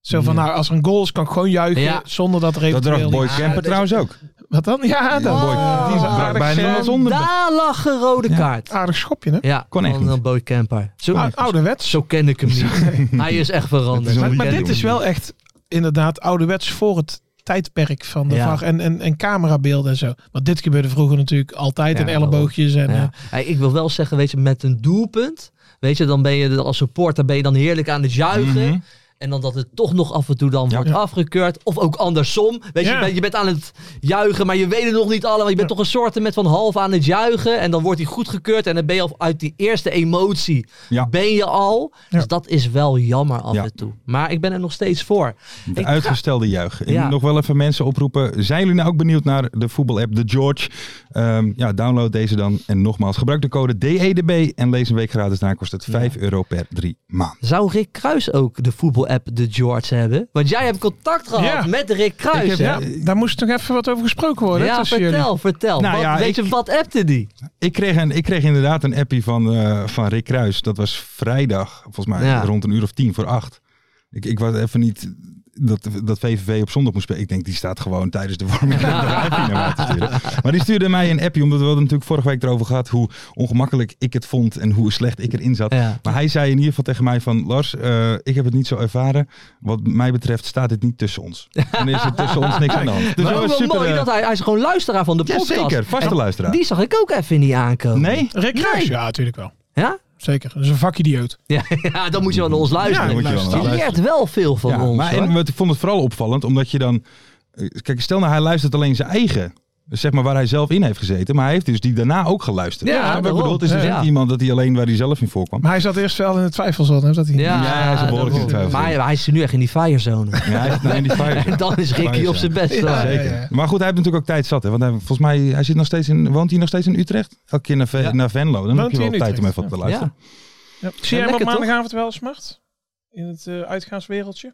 Speaker 5: Zo van, nou, als er een goal is, kan ik gewoon juichen
Speaker 4: Ja.
Speaker 5: zonder dat er
Speaker 3: Dat
Speaker 5: eventueel...
Speaker 3: draagt Boy
Speaker 5: Ja, dus
Speaker 3: Kemper
Speaker 5: dat-
Speaker 3: trouwens ook.
Speaker 5: Wat dan? Ja, dat...
Speaker 3: Boy,
Speaker 5: eh,
Speaker 3: die
Speaker 5: is
Speaker 3: brak
Speaker 5: aardig,
Speaker 3: bijna
Speaker 5: eh,
Speaker 3: iemand zonder.
Speaker 4: Daar lag een rode
Speaker 3: Ja.
Speaker 4: kaart.
Speaker 5: Aardig schopje, hè?
Speaker 4: Ja,
Speaker 3: Kon echt
Speaker 4: van
Speaker 3: niet.
Speaker 4: een Boy Camper. Zo,
Speaker 5: Ou- Ouderwets.
Speaker 4: zo ken ik hem niet. Hij is echt
Speaker 3: Het
Speaker 4: veranderd.
Speaker 3: is een
Speaker 4: Zo
Speaker 5: Maar, maar
Speaker 4: ken ik
Speaker 5: dit is
Speaker 4: hem
Speaker 5: wel echt inderdaad ouderwets voor het tijdperk van de
Speaker 4: Ja.
Speaker 5: VAR en, en, en camerabeelden en zo. Want dit gebeurde vroeger natuurlijk altijd
Speaker 4: Ja,
Speaker 5: en elleboogjes en...
Speaker 4: niet.
Speaker 5: eh,
Speaker 4: Ja. Hey, ik wil wel zeggen, weet je, met een doelpunt. Weet je, dan ben je er als supporter ben je dan heerlijk aan het juichen.
Speaker 3: Mhm.
Speaker 4: En dan dat het toch nog af en toe dan wordt
Speaker 5: Ja.
Speaker 4: afgekeurd. Of ook andersom. Weet je,
Speaker 5: Ja.
Speaker 4: je, bent, je bent aan het juichen, maar je weet het nog niet allemaal. Je bent toch een soort met van half aan het juichen. En dan wordt hij goedgekeurd. En dan ben je al uit die eerste emotie
Speaker 3: Ja.
Speaker 4: ben je al.
Speaker 5: Ja.
Speaker 4: Dus dat is wel jammer af
Speaker 3: Ja.
Speaker 4: en toe. Maar ik ben er nog steeds voor.
Speaker 3: De
Speaker 4: Ik-
Speaker 3: uitgestelde juich. Ik
Speaker 4: Ja.
Speaker 3: moet nog wel even mensen oproepen. Zijn jullie nou ook benieuwd naar de voetbalapp The George? Ehm, ja, download deze dan. En nogmaals, gebruik de code DEDB en lees een week gratis na. Kost het 5 euro per drie maanden.
Speaker 4: Zou Rick Kruis ook de voetbalapp de George hebben? Want jij hebt contact gehad
Speaker 5: Ja.
Speaker 4: met Rick Kruis. hè?
Speaker 5: eh, Ja, daar moest nog even wat over gesproken worden.
Speaker 4: Ja,
Speaker 5: tussen
Speaker 4: vertel,
Speaker 5: jullie.
Speaker 4: vertel.
Speaker 3: Nou
Speaker 4: Wat-
Speaker 3: ja,
Speaker 4: weet
Speaker 3: ik-
Speaker 4: je, wat appte die?
Speaker 3: Ik kreeg, een, ik kreeg inderdaad een appie van, eh, van Rick Kruis. Dat was vrijdag, volgens mij
Speaker 4: Ja.
Speaker 3: rond een uur of tien voor acht. Ik, ik was even niet dat, dat VVV op zondag moest spelen. Ik denk, die staat gewoon tijdens de warming up daar een appie naar mij te sturen. Maar die stuurde mij een appie, omdat we hadden natuurlijk vorige week erover gehad hoe ongemakkelijk ik het vond en hoe slecht ik erin zat.
Speaker 4: Ja.
Speaker 3: Maar hij zei in ieder geval tegen mij van, Lars, eh, ik heb het niet zo ervaren. Wat mij betreft staat dit niet tussen ons. Dan is er tussen ons niks aan de hand. Dus
Speaker 4: Maar
Speaker 3: dat
Speaker 4: ook
Speaker 3: was
Speaker 4: wel
Speaker 3: super,
Speaker 4: mooi
Speaker 3: eh,
Speaker 4: dat hij, hij is gewoon luisteraar van de
Speaker 3: ja,
Speaker 4: podcast.
Speaker 3: zeker, vaste
Speaker 4: En
Speaker 3: luisteraar.
Speaker 4: Die zag ik ook even niet aankomen.
Speaker 3: Nee?
Speaker 5: Rick Kruis?
Speaker 4: Nee.
Speaker 5: Ja, natuurlijk wel.
Speaker 4: Ja?
Speaker 5: Zeker. Dat is een vakidioot.
Speaker 4: Ja, ja, dan moet je wel naar ons luisteren. Nou,
Speaker 3: Ja, dan moet je wel naar
Speaker 4: je
Speaker 3: ons
Speaker 4: leert wel veel van ons.
Speaker 3: Maar en,
Speaker 4: hoor.
Speaker 3: wat ik vond het vooral opvallend, omdat je dan... eh, Kijk, stel nou, hij luistert alleen zijn eigen... Dus zeg maar waar hij zelf in heeft gezeten. Maar hij heeft dus die daarna ook geluisterd.
Speaker 4: Ja,
Speaker 3: maar ik
Speaker 4: daarom.
Speaker 3: bedoel, het is dus
Speaker 4: Ja.
Speaker 3: niet iemand dat hij alleen waar hij zelf in voorkwam.
Speaker 5: Maar hij zat eerst wel in de twijfelzone. Hè? Dat hij...
Speaker 4: ja,
Speaker 3: ja, hij is een behoorlijk in twijfel.
Speaker 4: Maar hij is nu echt in die firezone.
Speaker 3: Ja, hij zit nou in die fire.
Speaker 4: en dan is Ricky
Speaker 3: Firezone.
Speaker 4: op zijn best.
Speaker 5: Ja,
Speaker 4: hoor.
Speaker 3: Zeker.
Speaker 5: ja, ja.
Speaker 3: Maar goed, hij heeft natuurlijk ook tijd zat. Hè? Want hij, volgens mij hij zit nog steeds in, woont hij nog steeds in Utrecht? Elke keer naar, Ve- naar Venlo. Dan
Speaker 5: Woont
Speaker 3: heb je
Speaker 5: hij
Speaker 3: wel
Speaker 5: in
Speaker 3: tijd om
Speaker 5: Utrecht?
Speaker 3: even op te luisteren.
Speaker 4: Ja.
Speaker 5: Ja. Zie jij hem
Speaker 4: lekker,
Speaker 5: op
Speaker 4: toch?
Speaker 5: maandagavond wel smart? In het eh, uitgaanswereldje?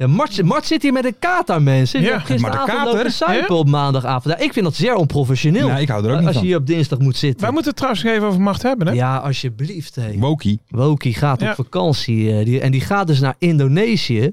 Speaker 4: Ja, Mart, Mart zit hier met een kater, mensen. Die
Speaker 5: Ja,
Speaker 4: heeft gisteravond
Speaker 3: maar de
Speaker 4: lopen
Speaker 3: kater,
Speaker 4: suipen
Speaker 5: hè?
Speaker 4: op maandagavond. Ja, ik vind dat zeer onprofessioneel.
Speaker 3: Nee, ik hou er ook niet
Speaker 4: als je
Speaker 3: van.
Speaker 4: hier op dinsdag moet zitten.
Speaker 5: Wij moeten het trouwens nog even over macht hebben. Hè?
Speaker 4: Ja, alsjeblieft. hé.
Speaker 3: Woki.
Speaker 4: Woki gaat
Speaker 5: Ja.
Speaker 4: op vakantie. eh, die, en die gaat dus naar Indonesië.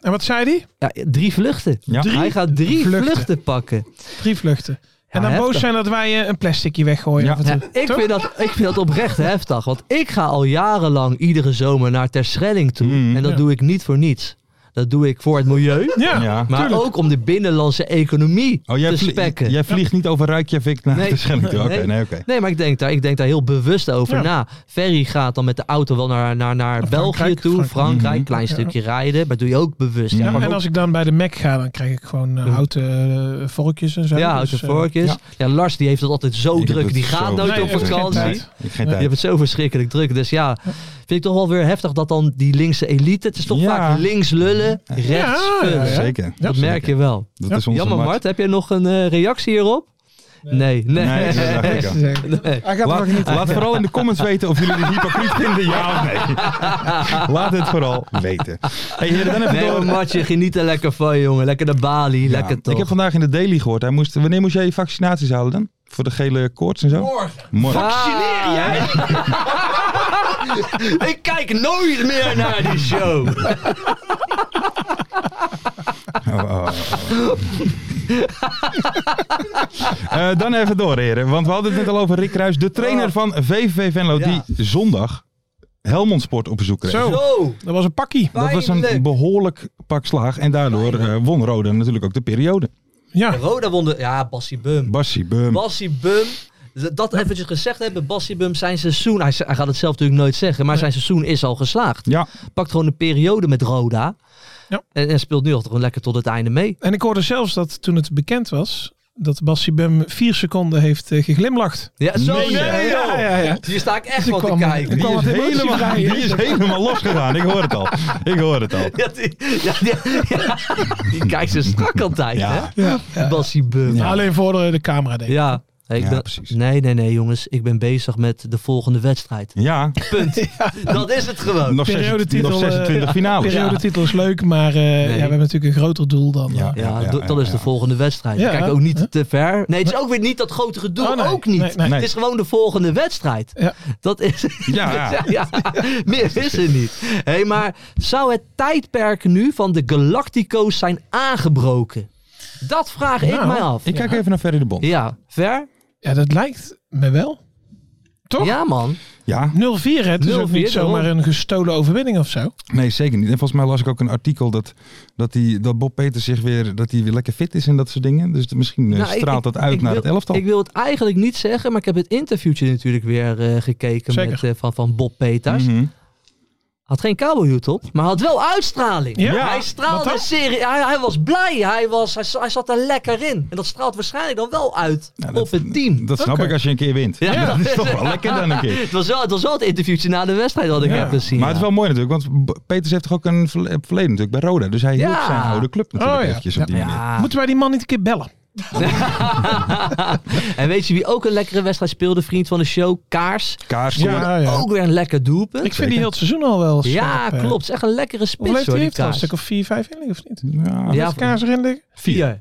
Speaker 5: En wat zei hij?
Speaker 4: Ja, drie vluchten.
Speaker 3: Ja.
Speaker 5: Drie
Speaker 4: Hij gaat drie vluchten,
Speaker 5: vluchten.
Speaker 4: pakken.
Speaker 5: Drie vluchten. en dan
Speaker 4: heftig.
Speaker 5: boos zijn dat wij eh, een plasticje weggooien.
Speaker 3: Ja.
Speaker 5: af en
Speaker 4: Ja,
Speaker 5: toe.
Speaker 4: ik,
Speaker 5: Toch?
Speaker 4: vind dat, ik vind dat oprecht heftig. Want ik ga al jarenlang iedere zomer naar Terschelling toe.
Speaker 3: Mm.
Speaker 4: en dat
Speaker 5: Ja.
Speaker 4: doe ik niet voor niets. Dat doe ik voor het milieu.
Speaker 5: Ja.
Speaker 3: Ja.
Speaker 4: maar ook om de binnenlandse economie
Speaker 3: Oh, jij,
Speaker 4: te
Speaker 3: vlie-
Speaker 4: spekken.
Speaker 3: jij vliegt niet over Reykjavik naar
Speaker 4: Nee.
Speaker 3: de Schelling toe. Oké,
Speaker 4: Nee.
Speaker 3: nee, oké.
Speaker 4: Nee, maar ik denk, daar, ik denk daar heel bewust over
Speaker 5: Ja.
Speaker 4: na. Ferry gaat dan met de auto wel naar, naar, naar België toe, Frankrijk,
Speaker 5: Frankrijk. Mhm.
Speaker 4: klein
Speaker 5: Ja.
Speaker 4: stukje rijden. Maar doe je ook bewust.
Speaker 3: Ja,
Speaker 4: Ja,
Speaker 5: Ja,
Speaker 4: maar
Speaker 5: en
Speaker 4: ook-
Speaker 5: als ik dan bij de Mac ga, dan krijg ik gewoon eh,
Speaker 4: Ja.
Speaker 5: houten eh, vorkjes en zo.
Speaker 4: ja, uit
Speaker 5: Dus,
Speaker 4: de
Speaker 5: eh,
Speaker 4: vorkjes.
Speaker 3: ja.
Speaker 4: Ja. Lars die heeft het altijd zo
Speaker 3: Ik heb
Speaker 4: Oh, druk.
Speaker 3: het
Speaker 4: Die
Speaker 3: zo
Speaker 4: gaat nooit op
Speaker 3: druk.
Speaker 5: Nee, ik heb geen
Speaker 4: vakantie.
Speaker 5: tijd.
Speaker 3: Ik geen
Speaker 4: Je hebt
Speaker 3: tijd.
Speaker 4: het zo verschrikkelijk druk. Dus ja, vind ik toch wel weer heftig dat dan die linkse elite... Het is toch
Speaker 3: Ja.
Speaker 4: vaak links lullen, rechts
Speaker 5: Ja, ja,
Speaker 4: vullen.
Speaker 5: ja.
Speaker 3: Zeker.
Speaker 4: Dat merk je wel.
Speaker 3: Dat
Speaker 5: Ja.
Speaker 3: is onze
Speaker 4: Jammer
Speaker 3: markt.
Speaker 4: Mart, heb jij nog een eh, reactie hierop? Nee, nee.
Speaker 3: Nee, dat dacht ik al.
Speaker 4: Nee.
Speaker 5: Hij gaat er
Speaker 3: Laat,
Speaker 5: nog niet.
Speaker 3: laat vooral in de comments weten of jullie dit hypocriet vinden, ja of nee. Laat het vooral weten. Hey, heren, dan even
Speaker 4: Nee,
Speaker 3: door.
Speaker 4: maar Martje, geniet er lekker van, jongen. Lekker naar Bali,
Speaker 3: Ja,
Speaker 4: lekker toch.
Speaker 3: Ik heb vandaag in de Daily gehoord. Hij moest, wanneer moest jij je vaccinaties halen dan? Voor de gele koorts en zo? Morgen.
Speaker 4: Ah. Vaccineer jij? ik kijk nooit meer naar die show.
Speaker 3: Oh, oh, oh, oh. Eh, dan even door, heren. Want we hadden het net al over Rick Kruis, de
Speaker 5: Oh.
Speaker 3: trainer van VVV Venlo,
Speaker 4: Ja.
Speaker 3: die zondag Helmond Sport op bezoek kreeg.
Speaker 5: Zo.
Speaker 4: Zo,
Speaker 5: Dat was een pakkie.
Speaker 3: Dat was een
Speaker 4: pijnlijk.
Speaker 3: behoorlijk pak slaag. En daardoor eh, won Roda natuurlijk ook de periode.
Speaker 5: Ja.
Speaker 4: Roda won de... Ja, Bassie Bum.
Speaker 3: Bassie, Bum.
Speaker 4: Bassie Bum. d- dat eventjes gezegd hebben, Bassibum zijn seizoen, hij, z- hij gaat het zelf natuurlijk nooit zeggen, maar zijn seizoen is al geslaagd.
Speaker 3: Ja,
Speaker 4: Pakt gewoon een periode met Roda
Speaker 5: Ja.
Speaker 4: en, en speelt nu al gewoon lekker tot het einde mee.
Speaker 5: En ik hoorde zelfs dat toen het bekend was, dat Bassi Bum vier seconden heeft eh, geglimlacht.
Speaker 4: Ja, zo
Speaker 3: Nee,
Speaker 4: Oh, nee,
Speaker 3: ja,
Speaker 4: joh.
Speaker 5: ja, ja, ja.
Speaker 4: Hier sta ik echt
Speaker 5: Dus ik
Speaker 4: van te
Speaker 5: kwam-
Speaker 4: kijken.
Speaker 5: ik
Speaker 3: die
Speaker 5: kwam
Speaker 3: is,
Speaker 5: wat emotie
Speaker 3: helemaal,
Speaker 5: vrij, hè?
Speaker 3: die is helemaal losgegaan. Ik hoor het al. Ik hoor het al.
Speaker 4: Ja, die, ja, die, ja, die kijkt ze strak altijd,
Speaker 3: Ja.
Speaker 5: Ja.
Speaker 4: hè? Bassibum. Ja.
Speaker 5: Alleen voor de, de camera denk ik.
Speaker 4: Ja, ik
Speaker 3: Ja,
Speaker 4: ben-
Speaker 3: precies.
Speaker 4: Nee, nee, nee, jongens. Ik ben bezig met de volgende wedstrijd.
Speaker 3: Ja,
Speaker 4: Dat is het gewoon.
Speaker 3: nog, zes,
Speaker 5: periodetitel,
Speaker 3: nog
Speaker 5: eh,
Speaker 3: 26 finales.
Speaker 5: Periodetitel is leuk, maar eh, ja, we hebben natuurlijk een groter doel dan.
Speaker 3: Ja.
Speaker 5: eh,
Speaker 4: Ja,
Speaker 3: ja,
Speaker 4: do- dat
Speaker 3: ja,
Speaker 4: is de
Speaker 3: ja.
Speaker 4: volgende wedstrijd.
Speaker 5: Ja,
Speaker 4: Kijk ook niet
Speaker 5: hè?
Speaker 4: te ver. Nee, het is ook weer niet dat grote gedoe.
Speaker 5: Oh, nee,
Speaker 4: Ook niet.
Speaker 5: nee, nee.
Speaker 3: Nee.
Speaker 4: Het is gewoon de volgende wedstrijd.
Speaker 5: Ja.
Speaker 4: Dat is.
Speaker 3: Ja,
Speaker 4: ja,
Speaker 3: ja.
Speaker 4: ja. meer is er niet. Hey, maar zou het tijdperk nu van de Galactico's zijn aangebroken? Dat vraag ik
Speaker 5: Nou,
Speaker 4: mij af.
Speaker 3: Ik kijk even naar Ferry de Bond.
Speaker 4: Ja, ver?
Speaker 5: Ja, dat lijkt me wel. Toch?
Speaker 4: Ja, man.
Speaker 3: Ja,
Speaker 5: 0-4, hè? het is ook
Speaker 4: 0-4,
Speaker 5: niet zomaar een gestolen overwinning of zo.
Speaker 3: nee, zeker niet. En volgens mij las ik ook een artikel dat, dat, die, dat Bob Peters zich weer, dat hij weer lekker fit is en dat soort dingen. Dus misschien eh,
Speaker 4: Nou, ik-
Speaker 3: straalt dat uit
Speaker 4: ik
Speaker 3: naar
Speaker 4: wil-
Speaker 3: het elftal.
Speaker 4: Ik wil het eigenlijk niet zeggen, maar ik heb het interviewtje natuurlijk weer eh, gekeken
Speaker 5: Zeker.
Speaker 4: met, eh, van, van Bob Peters.
Speaker 3: Mhm.
Speaker 4: Had geen kabelhoed op, maar had wel uitstraling.
Speaker 5: Ja.
Speaker 4: Hij
Speaker 5: Wat
Speaker 4: straalde
Speaker 5: dan?
Speaker 4: serie. Hij, hij was blij. Hij, was, hij, za- hij zat er lekker in. En dat straalt waarschijnlijk dan wel uit
Speaker 3: Ja,
Speaker 4: op het team.
Speaker 3: Dat snap
Speaker 5: Oké.
Speaker 3: ik als je een keer wint.
Speaker 4: Ja.
Speaker 3: dat is toch wel lekker dan een keer.
Speaker 4: het, was wel, het was wel het interviewtje na de wedstrijd dat ik
Speaker 5: Ja.
Speaker 4: heb gezien.
Speaker 3: Maar het is
Speaker 4: ja.
Speaker 3: wel mooi natuurlijk, want B- Peters heeft toch ook een verle- verleden natuurlijk bij Roda. Dus hij hielp
Speaker 4: Ja.
Speaker 3: zijn oude club natuurlijk
Speaker 5: Oh, ja.
Speaker 3: eventjes op die manier.
Speaker 4: Ja.
Speaker 5: Moeten wij die man niet een keer bellen?
Speaker 4: en weet je wie ook een lekkere wedstrijd speelde? Vriend van de show, Kaars.
Speaker 3: Kaars scoorde-
Speaker 5: Ja, ja.
Speaker 4: Ook weer een lekker doelpunt.
Speaker 5: Ik vind die heel het seizoen al wel
Speaker 4: oh, ja,
Speaker 5: scherp, eh.
Speaker 4: klopt. Echt een lekkere spits
Speaker 5: Hoeveel heeft
Speaker 4: hoor, die
Speaker 5: hij? Heeft hij al een
Speaker 4: Kaars.
Speaker 5: stuk of 4, 5 in liggen of niet?
Speaker 3: Ja.
Speaker 4: Ja,
Speaker 5: Kaars erin liggen?
Speaker 4: vier.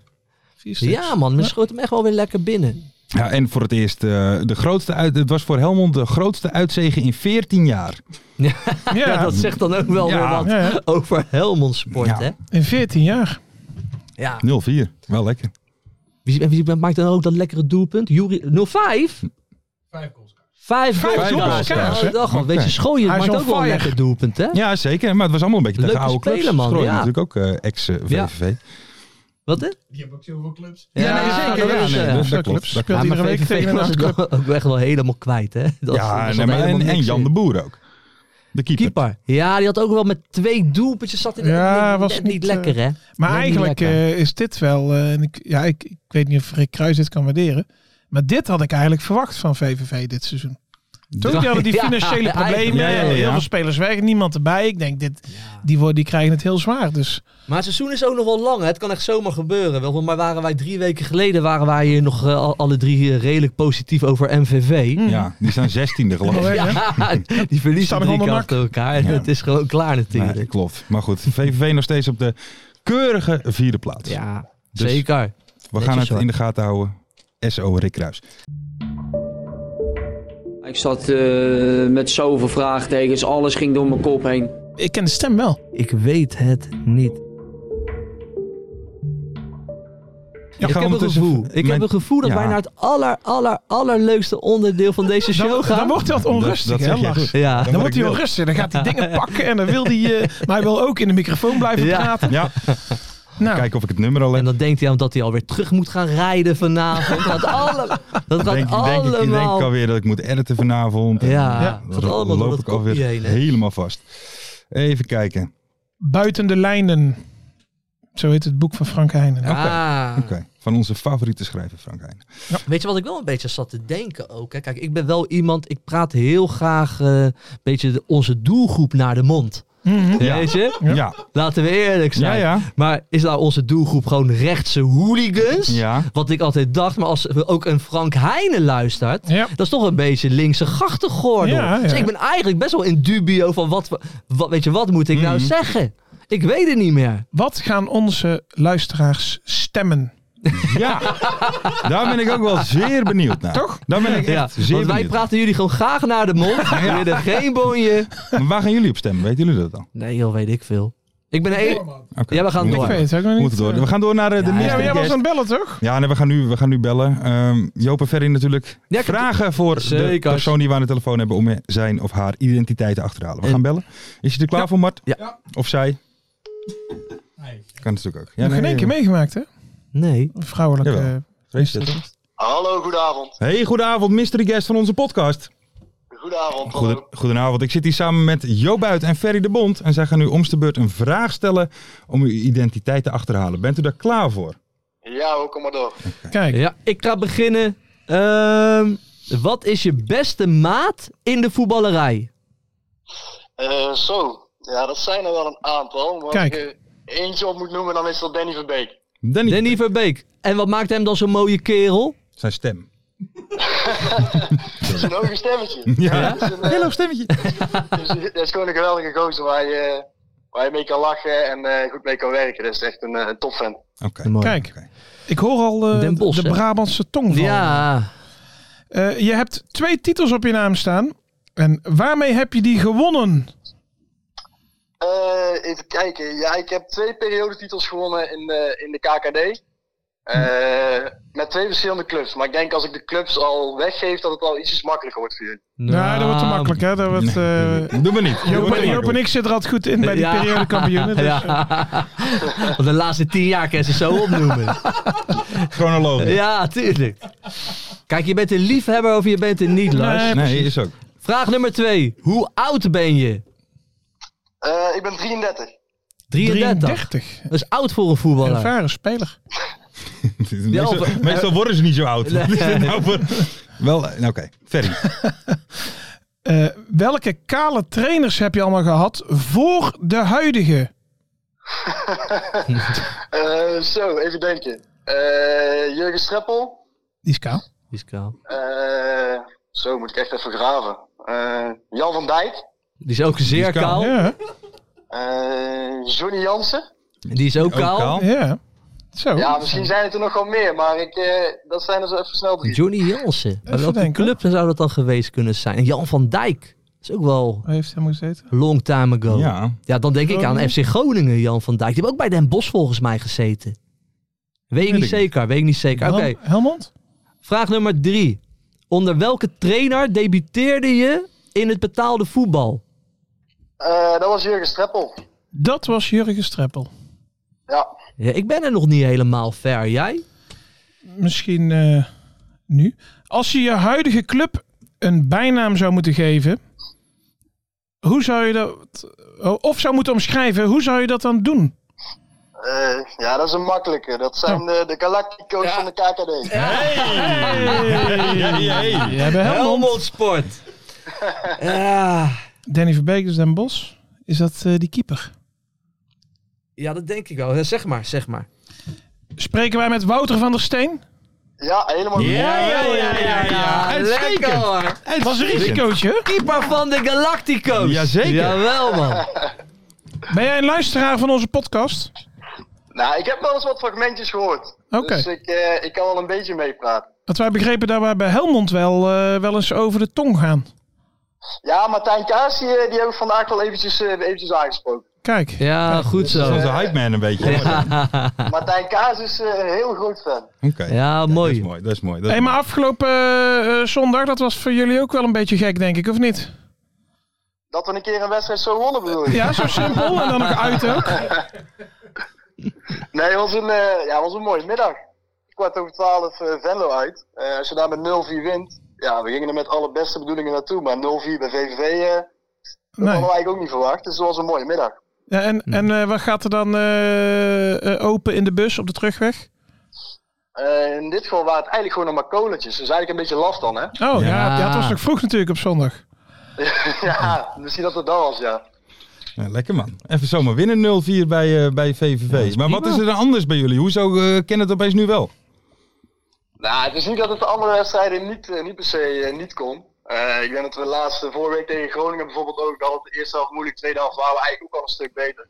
Speaker 5: Vier stuks.
Speaker 4: Ja man, men schoot hem echt wel weer lekker binnen.
Speaker 3: Ja, en voor het eerst, eh, de grootste uit, het was voor Helmond de grootste uitzegen in 14 jaar.
Speaker 5: Ja,
Speaker 4: Ja, dat zegt dan ook wel
Speaker 3: Ja.
Speaker 4: weer wat
Speaker 5: Ja, ja.
Speaker 4: over Helmond Sport,
Speaker 3: Ja.
Speaker 4: hè?
Speaker 5: in 14 jaar.
Speaker 4: Ja.
Speaker 3: 0-4, wel lekker.
Speaker 4: Wie, en wie maakt dan ook dat lekkere doelpunt? Juri, 05? Vijf goals. Vijf
Speaker 5: Vijf
Speaker 4: goals.
Speaker 5: goals,
Speaker 4: Ja,
Speaker 5: hè?
Speaker 4: dag, man. Weet je,
Speaker 3: Oké.
Speaker 4: schooien
Speaker 5: Hij is
Speaker 4: maakt
Speaker 5: on
Speaker 4: ook wel een
Speaker 5: fire.
Speaker 4: lekker doelpunt, hè?
Speaker 3: Ja, zeker. Maar het was allemaal een beetje tegen
Speaker 4: Leuke
Speaker 3: oude clubs.
Speaker 4: speler, man,
Speaker 3: Strooien
Speaker 4: ja.
Speaker 3: natuurlijk ook eh, ex-VVV.
Speaker 4: Wat, hè? Die hebben ook zoveel clubs. Ja, nee, zeker.
Speaker 3: ja,
Speaker 4: dus,
Speaker 3: nee,
Speaker 4: eh,
Speaker 3: dat
Speaker 5: Zo'n
Speaker 3: klopt, dat
Speaker 5: club
Speaker 3: klopt.
Speaker 5: Speelt
Speaker 4: ja,
Speaker 5: iedere
Speaker 4: maar
Speaker 5: week tegen
Speaker 4: VVV
Speaker 5: een
Speaker 4: was het
Speaker 5: achtclub.
Speaker 4: wel- ook echt wel helemaal kwijt, hè? Dat
Speaker 3: ja, nee, maar en, en Jan de Boer ook. De keeper.
Speaker 4: Keeper. Ja, die had ook wel met twee doelpuntjes zat hij
Speaker 5: Ja,
Speaker 4: net,
Speaker 5: was
Speaker 4: net
Speaker 5: niet,
Speaker 4: niet
Speaker 5: eh,
Speaker 4: lekker, hè? Net
Speaker 5: Maar
Speaker 4: niet
Speaker 5: eigenlijk
Speaker 4: lekker.
Speaker 5: eh, is dit wel... eh, en ik, ja, ik, ik weet niet of Rick Kruis dit kan waarderen. Maar dit had ik eigenlijk verwacht van VVV dit seizoen. Toen die hadden die
Speaker 4: Ja,
Speaker 5: financiële
Speaker 4: eigenlijk.
Speaker 5: problemen.
Speaker 3: Ja, ja, ja,
Speaker 5: en Heel
Speaker 3: ja.
Speaker 5: veel spelers weg, niemand erbij. Ik denk, dit, die, worden, die krijgen het heel zwaar. Dus
Speaker 4: Maar het seizoen is ook nog wel lang. Hè? Het kan echt zomaar gebeuren. Wel, maar waren wij drie weken geleden waren wij hier nog eh, al- alle drie eh, redelijk positief over MVV.
Speaker 3: Ja, die staan 16e
Speaker 4: Oh,
Speaker 3: geloof ik.
Speaker 5: Ja.
Speaker 4: Ja, die verliezen
Speaker 5: Staan
Speaker 4: drie keer
Speaker 5: onder
Speaker 4: achter elkaar. En
Speaker 3: Ja.
Speaker 4: het is gewoon klaar natuurlijk.
Speaker 3: Nee, klopt. Maar goed, VVV nog steeds op de keurige vierde plaats.
Speaker 4: ja,
Speaker 3: Dus-
Speaker 4: zeker.
Speaker 3: We gaan
Speaker 4: netjes
Speaker 3: het
Speaker 4: hoor.
Speaker 3: in de gaten houden. SO Rick Kruis.
Speaker 6: Ik zat eh, met zoveel vraagtekens, alles ging door mijn kop heen.
Speaker 5: ik ken de stem wel.
Speaker 4: Ik weet het niet.
Speaker 3: Ja,
Speaker 4: ik heb een
Speaker 3: ondertussen-
Speaker 4: gevoel. Ik
Speaker 3: mijn-
Speaker 4: heb een gevoel dat
Speaker 3: Ja.
Speaker 4: wij naar het aller, aller, allerleukste onderdeel van deze show
Speaker 5: Dan,
Speaker 4: gaan.
Speaker 5: dan wordt hij wat onrustig,
Speaker 3: dat
Speaker 5: hè,
Speaker 3: zeg jij
Speaker 5: Lars?
Speaker 3: goed.
Speaker 4: ja.
Speaker 5: Dan wordt
Speaker 3: ik
Speaker 5: hij
Speaker 3: wild.
Speaker 5: onrustig. Dan gaat hij dingen pakken en dan wil hij... eh, maar hij wil ook in de microfoon blijven
Speaker 4: Ja.
Speaker 5: praten.
Speaker 3: Ja,
Speaker 5: Nou,
Speaker 3: kijken of ik het nummer al heb.
Speaker 4: En dan denkt hij aan dat hij alweer terug moet gaan rijden vanavond. Dat gaat, alle, dat gaat
Speaker 3: denk, denk ik, ik denk
Speaker 4: allemaal...
Speaker 3: alweer dat ik moet editen vanavond. En
Speaker 4: ja,
Speaker 5: Ja.
Speaker 4: dat
Speaker 3: dan
Speaker 4: gaat allemaal door
Speaker 3: loop
Speaker 4: dat
Speaker 3: ik alweer
Speaker 4: kopje heen. hè.
Speaker 3: helemaal vast. Even kijken.
Speaker 5: Buiten de lijnen. Zo heet het boek van Frank Heijnen.
Speaker 4: Ah.
Speaker 3: Oké, van onze favoriete schrijver Frank Heijn.
Speaker 4: Weet je wat ik wel een beetje zat te denken ook? Hè? Kijk, ik ben wel iemand, ik praat heel graag eh, een beetje de- onze doelgroep naar de mond.
Speaker 5: Mhm.
Speaker 3: Ja.
Speaker 4: Weet je?
Speaker 3: Ja, ja,
Speaker 4: Laten we eerlijk
Speaker 3: ja.
Speaker 4: zijn. Maar is nou onze doelgroep gewoon rechtse hooligans?
Speaker 3: Ja.
Speaker 4: Wat ik altijd dacht, maar als we ook een Frank Heijnen luistert,
Speaker 5: Ja.
Speaker 4: dat is toch een beetje linkse grachtengordel.
Speaker 5: Ja, ja.
Speaker 4: Dus ik ben eigenlijk best wel in dubio van wat, we- wat weet je, wat moet ik
Speaker 3: Mhm.
Speaker 4: nou zeggen? Ik weet het niet meer.
Speaker 5: Wat gaan onze luisteraars stemmen?
Speaker 3: Ja. daar ben ik ook wel zeer benieuwd naar.
Speaker 5: Toch?
Speaker 3: Daar ben ik echt
Speaker 4: Ja,
Speaker 3: zeer
Speaker 4: want wij
Speaker 3: benieuwd
Speaker 4: praten jullie gewoon graag naar de mond. We willen geen bonje.
Speaker 3: naar. Maar Waar gaan jullie op stemmen? Weten jullie dat al?
Speaker 4: Nee, joh, weet ik veel. Ik ben een...
Speaker 3: Oké.
Speaker 4: Ja, we gaan
Speaker 3: moeten
Speaker 4: door.
Speaker 5: Ik weet het ook nog
Speaker 3: We
Speaker 5: niet.
Speaker 3: moeten door. We gaan door naar eh, de
Speaker 4: Ja,
Speaker 3: mystery
Speaker 5: Ja, maar jij was
Speaker 3: guest.
Speaker 5: aan het bellen, toch?
Speaker 3: Ja, nee, we gaan nu, we gaan nu bellen. Ehm Joop en Ferry natuurlijk.
Speaker 4: Ja, ik heb-
Speaker 3: Vragen voor de
Speaker 4: Zeker.
Speaker 3: persoon die we aan de telefoon hebben om zijn of haar identiteit te achterhalen. We
Speaker 4: En-
Speaker 3: gaan bellen. Is je er klaar voor, Mart?
Speaker 4: Ja.
Speaker 3: Of zij? Kan natuurlijk ook. Ja,
Speaker 5: Nog geen
Speaker 3: nee,
Speaker 5: één keer meegemaakt, hè?
Speaker 4: Nee.
Speaker 5: Een vrouwelijke...
Speaker 3: Jawel.
Speaker 5: eh,
Speaker 3: Vrees dit, toch?
Speaker 7: Hallo, goedenavond.
Speaker 3: Hey, goedenavond, mystery guest van onze podcast.
Speaker 7: Goedenavond.
Speaker 3: Goeden-
Speaker 7: hallo.
Speaker 3: goedenavond, ik zit hier samen met Jo Buit en Ferry de Bond. En zij gaan u omste beurt een vraag stellen om uw identiteit te achterhalen. Bent u daar klaar voor?
Speaker 7: Ja, hoor, kom maar door.
Speaker 5: Kijk,
Speaker 4: Ja, ik ga beginnen. Ehm, wat is je beste maat in de voetballerij?
Speaker 7: Eh, zo, ja, dat zijn er wel een aantal. Maar
Speaker 5: Kijk.
Speaker 7: als ik er eentje op moet noemen, dan is dat Danny Verbeek.
Speaker 3: Danny,
Speaker 4: Danny Verbeek. En wat maakt hem dan zo'n mooie kerel?
Speaker 3: zijn stem.
Speaker 7: Dat is een hoge stemmetje.
Speaker 3: Ja,
Speaker 7: Dat is, een, eh,
Speaker 3: Hallo stemmetje.
Speaker 7: dat is- dat is gewoon een geweldige gozer waar je, eh, waar je mee kan lachen en eh, goed mee kan werken. Dat is echt een, eh, een topfan.
Speaker 3: Oké.
Speaker 5: Kijk.
Speaker 3: Oké.
Speaker 5: ik hoor al eh,
Speaker 4: Den Bosch,
Speaker 5: de
Speaker 4: hè?
Speaker 5: Brabantse tong vallen.
Speaker 4: Ja,
Speaker 5: Eh, je hebt twee titels op je naam staan. En waarmee heb je die gewonnen? Nou,
Speaker 7: Eh, even kijken. Ja, ik heb twee periodetitels gewonnen in de, in de KKD. Eh,
Speaker 3: Hm.
Speaker 7: Met twee verschillende clubs. Maar ik denk als ik de clubs al weggeef, dat het al ietsjes makkelijker wordt voor jullie.
Speaker 5: Nou, dat wordt te makkelijk, hè? Dat wordt, eh,
Speaker 3: Doe maar niet. Doe
Speaker 5: Joop,
Speaker 3: maar
Speaker 5: en,
Speaker 3: niet,
Speaker 5: Joop en
Speaker 3: Marco.
Speaker 5: ik zitten er altijd goed in bij die
Speaker 4: Ja.
Speaker 5: periodekampioenen. Dus, eh,
Speaker 4: Nou. Ja. Want de laatste tien jaar kan je ze zo opnoemen.
Speaker 3: Chronologisch.
Speaker 4: Ja, tuurlijk. Kijk, je bent een liefhebber of je bent een niet, Lars.
Speaker 5: Nee.
Speaker 3: Nee, is ook.
Speaker 4: Vraag nummer twee. Hoe oud ben je?
Speaker 7: Eh, ik ben 33.
Speaker 4: 33.
Speaker 5: 33.
Speaker 4: Dat is oud voor een
Speaker 5: Een
Speaker 4: voetballer.
Speaker 5: ervaren speler.
Speaker 3: Meestal,
Speaker 4: of-
Speaker 3: meestal worden ze niet zo oud.
Speaker 4: Nee.
Speaker 3: Wat is dit nou voor- Wel, eh, oké. Ferry.
Speaker 5: Eh, welke kale trainers heb je allemaal gehad voor de huidige?
Speaker 7: Eh, zo, even denken. Eh, Jurgen Streppel.
Speaker 5: Die is kaal.
Speaker 4: Die is kaal.
Speaker 7: Eh, zo, moet ik echt even graven. Eh, Jan van Dijk.
Speaker 4: Die is ook zeer
Speaker 3: is
Speaker 4: kaal.
Speaker 3: kaal,
Speaker 5: Ja,
Speaker 7: Eh, Johnny Jansen.
Speaker 4: Die is ook,
Speaker 3: Ook
Speaker 4: kaal.
Speaker 3: kaal.
Speaker 5: ja. Zo.
Speaker 7: Ja, misschien zijn het er nog wel meer, maar ik, eh, dat zijn er zo even snel drie.
Speaker 4: Johnny Jansen. Bij
Speaker 5: Even
Speaker 4: welke
Speaker 5: denken.
Speaker 4: club zou dat dan geweest kunnen zijn? En Jan van Dijk. Dat is ook wel
Speaker 5: Waar heeft hij hem gezeten?
Speaker 4: long time ago. Ja,
Speaker 3: Ja.
Speaker 4: dan denk ik aan
Speaker 5: Groningen.
Speaker 4: FC Groningen, Jan van Dijk. Die hebben ook bij Den Bosch volgens mij gezeten. Weet ik niet
Speaker 3: ik
Speaker 4: zeker, weet ik niet zeker. Oké,
Speaker 5: Hel- Helmond?
Speaker 4: vraag nummer drie. Onder welke trainer debuteerde je in het betaalde voetbal?
Speaker 7: Eh, dat was Jurgen Streppel.
Speaker 5: Dat was Jurgen Streppel.
Speaker 7: Ja.
Speaker 4: Ja, ik ben er nog niet helemaal ver. Jij?
Speaker 5: Misschien eh, nu. Als je je huidige club een bijnaam zou moeten geven, hoe zou je dat. eh, Of zou moeten omschrijven, hoe zou je dat dan doen?
Speaker 7: Eh, ja, dat is een makkelijke. Dat zijn de, de Galactico's van de KKD.
Speaker 5: Je hebt Helmond.
Speaker 4: Sport. ja,
Speaker 5: Danny Verbeek is Den Bos. Is dat eh, die keeper?
Speaker 4: ja, dat denk ik wel. Zeg maar, zeg maar.
Speaker 5: Spreken wij met Wouter van der Steen?
Speaker 7: Ja, helemaal goed.
Speaker 3: ja, ja, ja. Uitstekend.
Speaker 4: Lekker hoor.
Speaker 5: Het was een risicootje.
Speaker 4: Keeper van de Galactico's.
Speaker 3: Jazeker.
Speaker 4: Jawel man.
Speaker 5: Ben jij een luisteraar van onze podcast?
Speaker 7: Nou, ik heb wel eens wat fragmentjes gehoord.
Speaker 5: Oké.
Speaker 7: Dus ik, eh, ik kan wel een beetje meepraten.
Speaker 5: Want wij begrepen dat wij bij Helmond wel, eh, wel eens over de tong gaan.
Speaker 7: Ja, Martijn Kaas, die, eh, die heb ik vandaag al eventjes, eh, eventjes aangesproken.
Speaker 5: Kijk.
Speaker 4: Ja, goed
Speaker 3: Dat is
Speaker 4: zo.
Speaker 3: onze hype man een beetje.
Speaker 7: Martijn Kaas is eh, een heel groot fan.
Speaker 3: Oké.
Speaker 4: Ja,
Speaker 3: Dat is
Speaker 4: mooi.
Speaker 3: mooi. Dat is mooi. Dat is
Speaker 5: Hey, maar
Speaker 3: mooi.
Speaker 5: afgelopen eh, eh, zondag, dat was voor jullie ook wel een beetje gek, denk ik, of niet?
Speaker 7: Dat we een keer een wedstrijd zo wonnen bedoel je?
Speaker 5: Ja, zo simpel. En dan nog uit ook.
Speaker 7: Nee, het was een, eh, ja, het was een mooie middag. Kwart over twaalf eh Venlo uit. Eh, als je daar met 0-4 wint, ja, we gingen er met alle beste bedoelingen naartoe. Maar 0-4 bij VVV, eh, dat
Speaker 5: Nee.
Speaker 7: hadden we eigenlijk ook niet verwacht. Dus het was een mooie middag.
Speaker 5: Ja, en en eh, wat gaat er dan eh, eh, open in de bus op de terugweg?
Speaker 7: Eh, in dit geval waren het eigenlijk gewoon nog maar kolentjes. Dus eigenlijk een beetje laf dan, hè?
Speaker 5: Oh, ja.
Speaker 4: Ja.
Speaker 5: ja, het was nog vroeg natuurlijk op zondag.
Speaker 7: ja, misschien dat het dan was, ja.
Speaker 3: Ja, lekker man. Even zomaar winnen 0-4 bij, eh, bij VVV. maar wat is er dan anders bij jullie? Hoezo eh, ken het opeens nu wel?
Speaker 7: Nou, het is niet dat het de andere wedstrijden niet, eh, niet per se eh, niet kon. Eh, ik denk dat we laatst eh, vorige week tegen Groningen bijvoorbeeld ook, dat het de eerste helft moeilijk, tweede helft waren we eigenlijk ook al een stuk beter.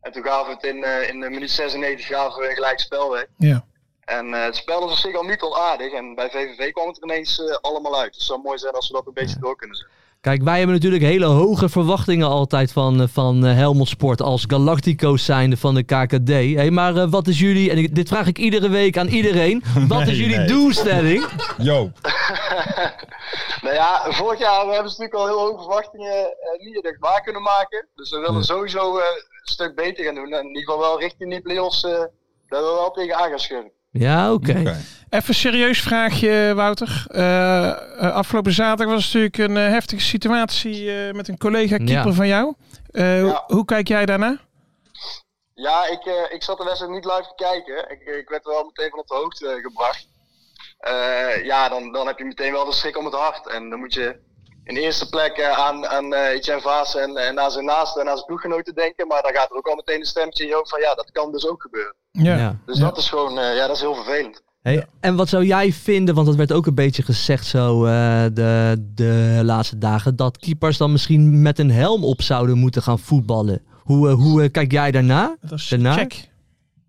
Speaker 7: En toen gaven we het in, eh, in de minuut 96 gaven we een gelijk spel weg.
Speaker 5: Ja.
Speaker 7: En eh, het spel is op zich al aardig en bij VVV kwam het er ineens eh, allemaal uit. Dus het zou mooi zijn als we dat een beetje door kunnen zetten.
Speaker 4: Kijk, wij hebben natuurlijk hele hoge verwachtingen altijd van, eh, van eh, Helmond Sport als Galactico's zijnde van de KKD. Hey, maar eh, wat is jullie, en ik- dit vraag ik iedere week aan iedereen, wat is
Speaker 3: Nee,
Speaker 4: jullie
Speaker 3: nee.
Speaker 4: doelstelling?
Speaker 3: Jo.
Speaker 7: Nou ja, vorig jaar we hebben ze natuurlijk al heel hoge verwachtingen eh, niet echt waar kunnen maken. Dus we willen Nou, sowieso eh, een stuk beter gaan doen. En in ieder geval wel richting die play-offs eh, dat we wel tegen aan gaan schudden.
Speaker 4: Ja, oké.
Speaker 3: Oké.
Speaker 5: Even een serieus vraagje, Wouter. Eh, eh, afgelopen zaterdag was natuurlijk een eh, heftige situatie eh, met een collega keeper
Speaker 4: Ja.
Speaker 5: van jou. Eh,
Speaker 7: Ja.
Speaker 5: Hoe kijk jij daarna?
Speaker 7: Ja, ik, eh, ik zat de wedstrijd niet live te kijken. Ik, ik werd er wel meteen van op de hoogte eh, gebracht. Eh, ja, dan, dan heb je meteen wel de schrik om het hart. En dan moet je in eerste plek eh, aan, aan eh Etienne Vaas en, en aan zijn naasten en aan zijn ploeggenoten denken. Maar dan gaat er ook al meteen een stemmetje in je hoofd van ja, dat kan dus ook gebeuren.
Speaker 5: Ja.
Speaker 4: Ja.
Speaker 7: Dus
Speaker 5: Ja.
Speaker 7: dat is gewoon, eh, ja, dat is heel vervelend.
Speaker 4: Hey, En wat zou jij vinden, want dat werd ook een beetje gezegd zo eh, de, de laatste dagen, dat keepers dan misschien met een helm op zouden moeten gaan voetballen. Hoe, eh, hoe eh, kijk jij daarna?
Speaker 5: Dat is
Speaker 4: Daarna?
Speaker 5: check.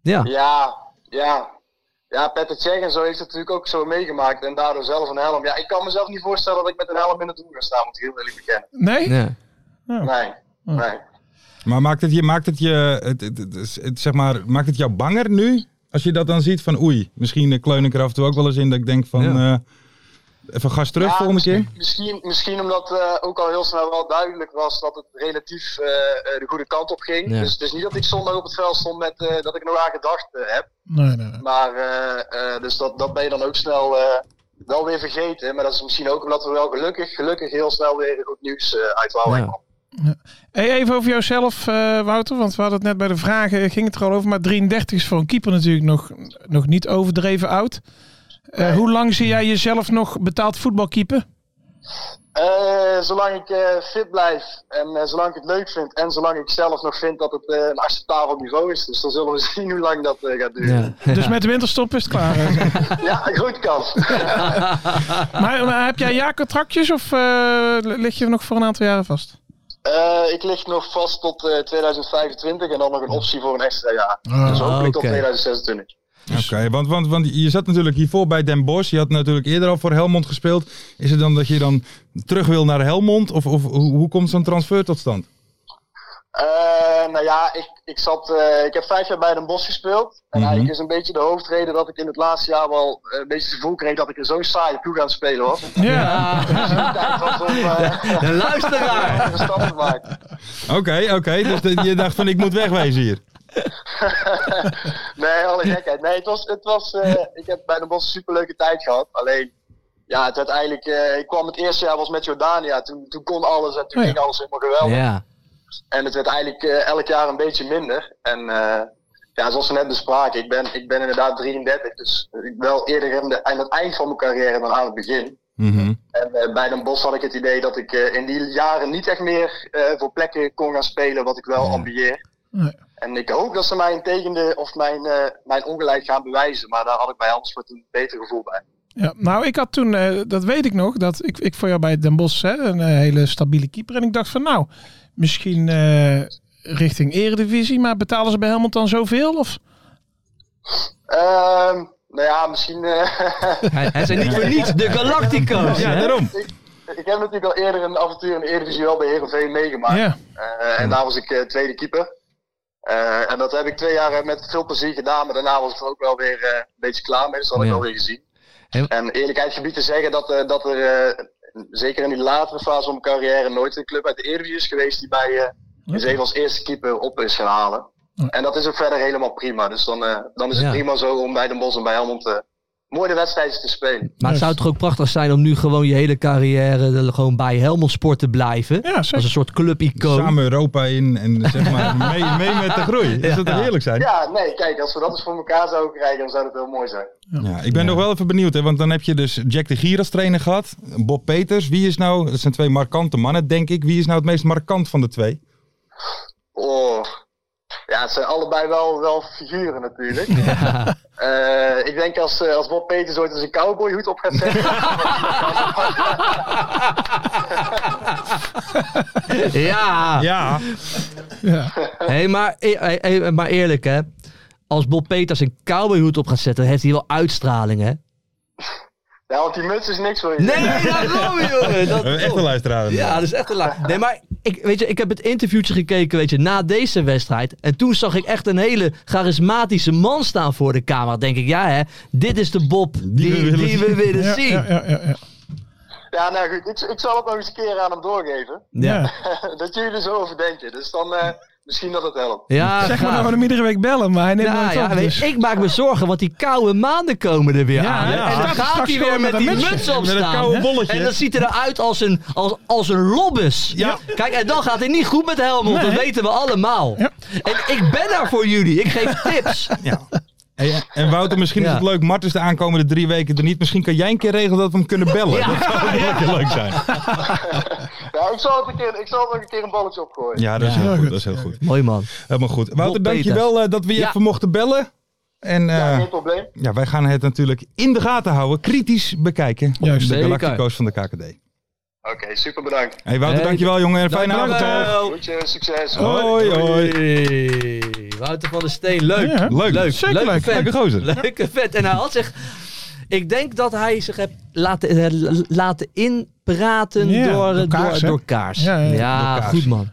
Speaker 4: Ja.
Speaker 7: Ja, ja. Ja, Petter Tsjech en zo heeft het natuurlijk ook zo meegemaakt. En daardoor zelf een helm. Ja, ik kan mezelf niet voorstellen dat ik met een helm in het doel ga staan, moet ik heel eerlijk bekennen.
Speaker 5: Nee?
Speaker 4: Ja.
Speaker 7: Nee, nee.
Speaker 3: Maar maakt het je, maakt het je het, het, het- het- het- zeg maar, maakt het jou banger nu? Als je dat dan ziet van oei, misschien eh, kleun ik er af en toe ook wel eens in dat ik denk van
Speaker 4: Ja.
Speaker 3: eh, even gas terug
Speaker 7: Ja,
Speaker 3: volgende keer.
Speaker 7: Misschien, misschien omdat eh, ook al heel snel wel duidelijk was dat het relatief eh, eh, de goede kant op ging.
Speaker 4: Ja.
Speaker 7: Dus het is niet dat ik zondag op het veld stond met eh, dat ik nog aan gedacht eh, heb.
Speaker 5: Nee, nee, nee.
Speaker 7: Maar eh, eh, dus dat, dat ben je dan ook snel eh, wel weer vergeten. Maar dat is misschien ook omdat we wel gelukkig, gelukkig heel snel weer goed nieuws eh, uit Waalwijk
Speaker 4: Ja.
Speaker 7: kwam.
Speaker 5: Hey, even over jouzelf, eh, Wouter. Want we hadden het net bij de vragen, ging het er al over. Maar 33 is voor een keeper natuurlijk nog, nog niet overdreven oud. Eh, Hoe lang zie jij jezelf nog betaald voetbalkeeper?
Speaker 7: Eh, zolang ik eh, fit blijf en eh, zolang ik het leuk vind en zolang ik zelf nog vind dat het eh, een acceptabel niveau is. Dus dan zullen we zien hoe lang dat eh, gaat duren.
Speaker 4: Ja.
Speaker 5: Dus met de winterstop is het klaar.
Speaker 7: Ja, een goed kans.
Speaker 5: maar, maar heb jij jaarcontractjes of eh, lig je nog voor een aantal jaren vast?
Speaker 7: Eh, ik lig nog vast tot eh, 2025 en dan nog een optie voor een extra jaar.
Speaker 5: Ah,
Speaker 7: dus hopelijk
Speaker 4: oké.
Speaker 7: tot 2026.
Speaker 3: Oké, want, want, want je zat natuurlijk hiervoor bij Den Bosch. Je had natuurlijk eerder al voor Helmond gespeeld. Is het dan dat je dan terug wil naar Helmond? Of, of hoe, hoe komt zo'n transfer tot stand?
Speaker 7: Eh, nou ja, ik, ik, zat, eh, ik heb vijf jaar bij Den Bosch gespeeld. En
Speaker 5: Mhm.
Speaker 7: eigenlijk is een beetje de hoofdreden dat ik in het laatste jaar wel eh, een beetje het gevoel kreeg dat ik in zo'n saaie ploeg aan het spelen was. Dus
Speaker 5: Ja.
Speaker 7: het tijd was om eh,
Speaker 4: De luisteraar!
Speaker 7: een stap te maken.
Speaker 3: Oké, oké. dus dat- je dacht van ik moet wegwezen hier.
Speaker 7: Nee, alle gekheid. Nee, het was, het was, eh, ik heb bij Den Bosch een superleuke tijd gehad. Alleen, ja, het werd eigenlijk, eh, ik kwam het eerste jaar was met Jordania. Toen, toen kon alles en toen
Speaker 5: Oh ja.
Speaker 7: ging alles helemaal geweldig.
Speaker 4: Ja.
Speaker 7: En het werd eigenlijk eh, elk jaar een beetje minder. En eh, ja, zoals we net bespraken, ik ben, ik ben inderdaad 33. Dus ik wel eerder aan, de- aan het eind van mijn carrière dan aan het begin.
Speaker 3: Mhm.
Speaker 7: En eh, bij Den Bosch had ik het idee dat ik eh, in die jaren niet echt meer eh, voor plekken kon gaan spelen wat ik wel ambieer.
Speaker 5: Nee.
Speaker 7: En ik hoop dat ze mij een tegende of mijn, eh, mijn ongelijk gaan bewijzen. Maar daar had ik bij Helmsfort een beter gevoel bij.
Speaker 5: Ja, nou, ik had toen, eh, dat weet ik nog, dat ik, ik voor jou bij Den Bosch hè, een eh, hele stabiele keeper. En ik dacht van, nou, misschien eh, richting Eredivisie, maar betalen ze bij Helmond dan zoveel? Of?
Speaker 7: Ehm, nou ja, misschien... eh,
Speaker 4: Hij, hij zijn niet voor niets de Galactico's.
Speaker 3: Ja,
Speaker 4: hè?
Speaker 3: daarom.
Speaker 7: ik heb natuurlijk al eerder een avontuur in de Eredivisie wel bij Heerenveen meegemaakt.
Speaker 5: Ja,
Speaker 7: Eh,
Speaker 4: Hmm.
Speaker 7: en daar was ik eh, tweede keeper. Eh, en dat heb ik twee jaar eh, met veel plezier gedaan. Maar daarna was ik er ook wel weer eh, een beetje klaar mee. Dus dat
Speaker 4: Oh
Speaker 7: had
Speaker 4: Ja.
Speaker 7: ik wel weer gezien.
Speaker 4: Heel-
Speaker 7: En eerlijkheid gebied te zeggen dat, eh, dat er, eh, zeker in die latere fase van mijn carrière, nooit een club uit de Eredivisie is geweest die bij eh eens even als eerste keeper op is gaan halen. En dat is ook verder helemaal prima. Dus dan, eh, dan is het
Speaker 4: Ja.
Speaker 7: prima zo om bij Den Bosch en bij Helmond eh, mooi de wedstrijden te spelen.
Speaker 4: Maar het zou toch ook prachtig zijn om nu gewoon je hele carrière eh, gewoon bij Helmond Sport te blijven.
Speaker 5: ja
Speaker 4: Als
Speaker 5: zeker.
Speaker 4: een soort clubicoon.
Speaker 3: Samen Europa in en eh, zeg maar mee, mee met de groei. Dat zou toch heerlijk zijn?
Speaker 7: Ja, nee, kijk, als we dat eens voor elkaar zouden krijgen, dan zou dat heel mooi zijn.
Speaker 3: Ja, ik ben nog wel even benieuwd, hè, want dan heb je dus Jack de Gier als trainer gehad. Bob Peters, wie is nou, dat zijn twee markante mannen denk ik. Wie is nou het meest markant van de twee?
Speaker 7: Oh. Ja, het zijn allebei wel, wel figuren natuurlijk. Eh, ik denk als, eh, als Bob Peters ooit eens een cowboyhoed op gaat zetten.
Speaker 4: Ja.
Speaker 3: Ja,
Speaker 4: Hey, maar, e- e- e- maar eerlijk hè. Als Bob Peters een cowboyhoed op gaat zetten, heeft hij wel uitstraling hè?
Speaker 7: ja, want die muts is niks voor je.
Speaker 4: Nee, daarom jongen. Dat,
Speaker 2: Eh,
Speaker 3: echt een eh, luisteraar.
Speaker 4: Ja, dat is echt een laag. Nee, maar ik, weet je, ik heb het interviewtje gekeken weet je, na deze wedstrijd. En toen zag ik echt een hele charismatische man staan voor de camera. Denk ik, ja hè, dit is de Bob die, die we willen zien.
Speaker 5: Ja, ja, ja, ja, ja.
Speaker 7: Ja, nou goed, ik, ik zal het nog eens een keer aan hem doorgeven.
Speaker 4: Ja.
Speaker 7: dat jullie er zo over denken. Dus dan eh, Misschien dat het helpt.
Speaker 4: Ja,
Speaker 5: zeg maar
Speaker 4: graag.
Speaker 5: nou we hem iedere week bellen, maar hij neemt
Speaker 4: Nou
Speaker 5: nooit
Speaker 4: ja,
Speaker 5: op.
Speaker 4: weet
Speaker 5: dus.
Speaker 4: je, ik maak me zorgen, want die koude maanden komen er weer
Speaker 5: Ja,
Speaker 4: aan. hè.
Speaker 5: ja.
Speaker 4: En dan
Speaker 5: Staat er
Speaker 4: gaat
Speaker 5: straks
Speaker 4: hij
Speaker 5: gewoon
Speaker 4: weer met,
Speaker 5: met
Speaker 4: die
Speaker 5: een mutsje.
Speaker 4: muts op
Speaker 2: Met een
Speaker 4: staan.
Speaker 2: koude
Speaker 4: hè.
Speaker 2: bolletje.
Speaker 4: En dat ziet hij eruit als een, als, als een lobbes.
Speaker 2: Ja.
Speaker 4: Kijk, en dan gaat het niet goed met Helmond, dat
Speaker 5: Nee.
Speaker 4: weten we allemaal.
Speaker 5: Ja.
Speaker 4: En ik ben daar voor jullie, ik geef tips.
Speaker 2: Ja. En, en Wouter, misschien is
Speaker 4: Ja.
Speaker 2: het leuk. Mart is de aankomende drie weken er niet. Misschien kan jij een keer regelen dat we hem kunnen bellen.
Speaker 4: Ja.
Speaker 2: Dat zou ook wel leuk zijn.
Speaker 7: Ja, Nou, ik zal, het een keer, ik zal het ook een keer een balletje opgooien.
Speaker 2: Ja, dat is, heel, goed, dat is heel goed.
Speaker 4: Mooi man.
Speaker 2: Helemaal goed. Wouter,
Speaker 4: Bob
Speaker 2: dank je
Speaker 4: Peters.
Speaker 2: wel eh, dat we je
Speaker 4: Ja.
Speaker 2: even mochten bellen. En eh,
Speaker 7: Ja,
Speaker 2: ja,
Speaker 7: geen probleem.
Speaker 2: wij gaan het natuurlijk in de gaten houden. Kritisch bekijken.
Speaker 5: Juist.
Speaker 2: De
Speaker 4: Zeker.
Speaker 2: Galactico's van de KKD.
Speaker 7: Oké, super bedankt.
Speaker 2: Hey Wouter,
Speaker 4: Hey,
Speaker 2: dankjewel jongen. En fijne avond.
Speaker 4: Dankjewel.
Speaker 2: toch.
Speaker 7: Goedje, succes.
Speaker 2: Hoi, hoi.
Speaker 4: Hey, Wouter van der Steen, leuk.
Speaker 5: Ja,
Speaker 2: Leuk.
Speaker 4: Leuk,
Speaker 5: Zeker
Speaker 4: leuke
Speaker 5: leuk.
Speaker 4: vent.
Speaker 2: Leuke gozer.
Speaker 4: Leuke vet. En hij had zich... Ik denk dat hij zich heeft laten, eh, l- laten inpraten
Speaker 5: Ja,
Speaker 4: door, eh,
Speaker 5: door Kaars,
Speaker 4: door,
Speaker 5: hè?
Speaker 4: door kaars.
Speaker 5: Ja, ja, ja.
Speaker 2: Door Kaars.
Speaker 4: goed man.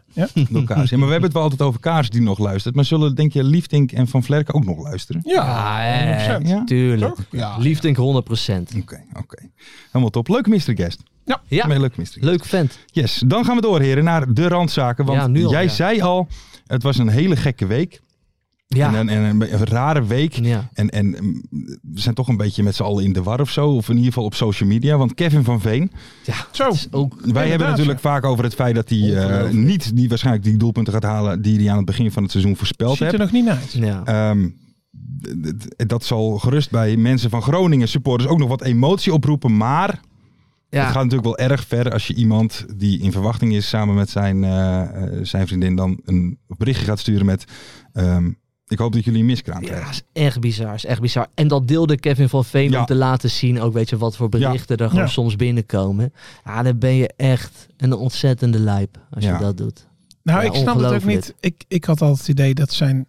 Speaker 2: Door Kaas. Ja, maar we hebben het wel altijd over Kaas die nog luistert. Maar zullen, denk je, Liefdink en Van Vlerken ook nog luisteren?
Speaker 5: Ja,
Speaker 4: Ah, eh,
Speaker 5: 100%.
Speaker 2: Ja?
Speaker 4: tuurlijk.
Speaker 5: Toch? Ja.
Speaker 4: Liefdink 100%.
Speaker 2: Oké, oké. Helemaal top. Leuk mystery guest.
Speaker 4: Ja,
Speaker 2: Heel Leuk mystery
Speaker 4: leuk vent.
Speaker 2: Yes, dan gaan we door heren naar de randzaken. Want
Speaker 4: Ja, nu al,
Speaker 2: jij
Speaker 4: ja.
Speaker 2: zei al, het was een hele gekke week. En,
Speaker 4: Ja.
Speaker 2: een, en een, een rare week.
Speaker 4: Ja.
Speaker 2: En, en mm, we zijn toch een beetje met z'n allen in de war of zo. Of in ieder geval op social media. Want Kevin van Veen.
Speaker 5: zo.
Speaker 4: Is ook,
Speaker 2: Wij hebben natuurlijk vaak over het feit dat hij eh, niet die, waarschijnlijk die doelpunten gaat halen. die hij aan het begin van het seizoen voorspeld
Speaker 5: Ziet er
Speaker 2: heeft.
Speaker 5: nog niet naar uit.
Speaker 4: ja.
Speaker 2: Ehm, d- d- dat zal gerust bij mensen van Groningen supporters ook nog wat emotie oproepen. Maar
Speaker 4: ja.
Speaker 2: het gaat natuurlijk wel erg ver als je iemand die in verwachting is samen met zijn, eh, eh, zijn vriendin dan een berichtje gaat sturen met ehm, ik hoop dat jullie een miskraam
Speaker 4: Ja,
Speaker 2: krijgen.
Speaker 4: is echt bizar, is echt bizar. En dat deelde Kevin van Veen
Speaker 2: Ja.
Speaker 4: om te laten zien, ook weet je wat voor berichten er gewoon
Speaker 5: Ja.
Speaker 4: soms binnenkomen. Ja, dan ben je echt een ontzettende lijp als
Speaker 2: Ja.
Speaker 4: je dat doet.
Speaker 5: Nou,
Speaker 4: Ja,
Speaker 5: ik snap het ook
Speaker 4: ongelooflijk.
Speaker 5: niet. Ik, ik had altijd het idee dat zijn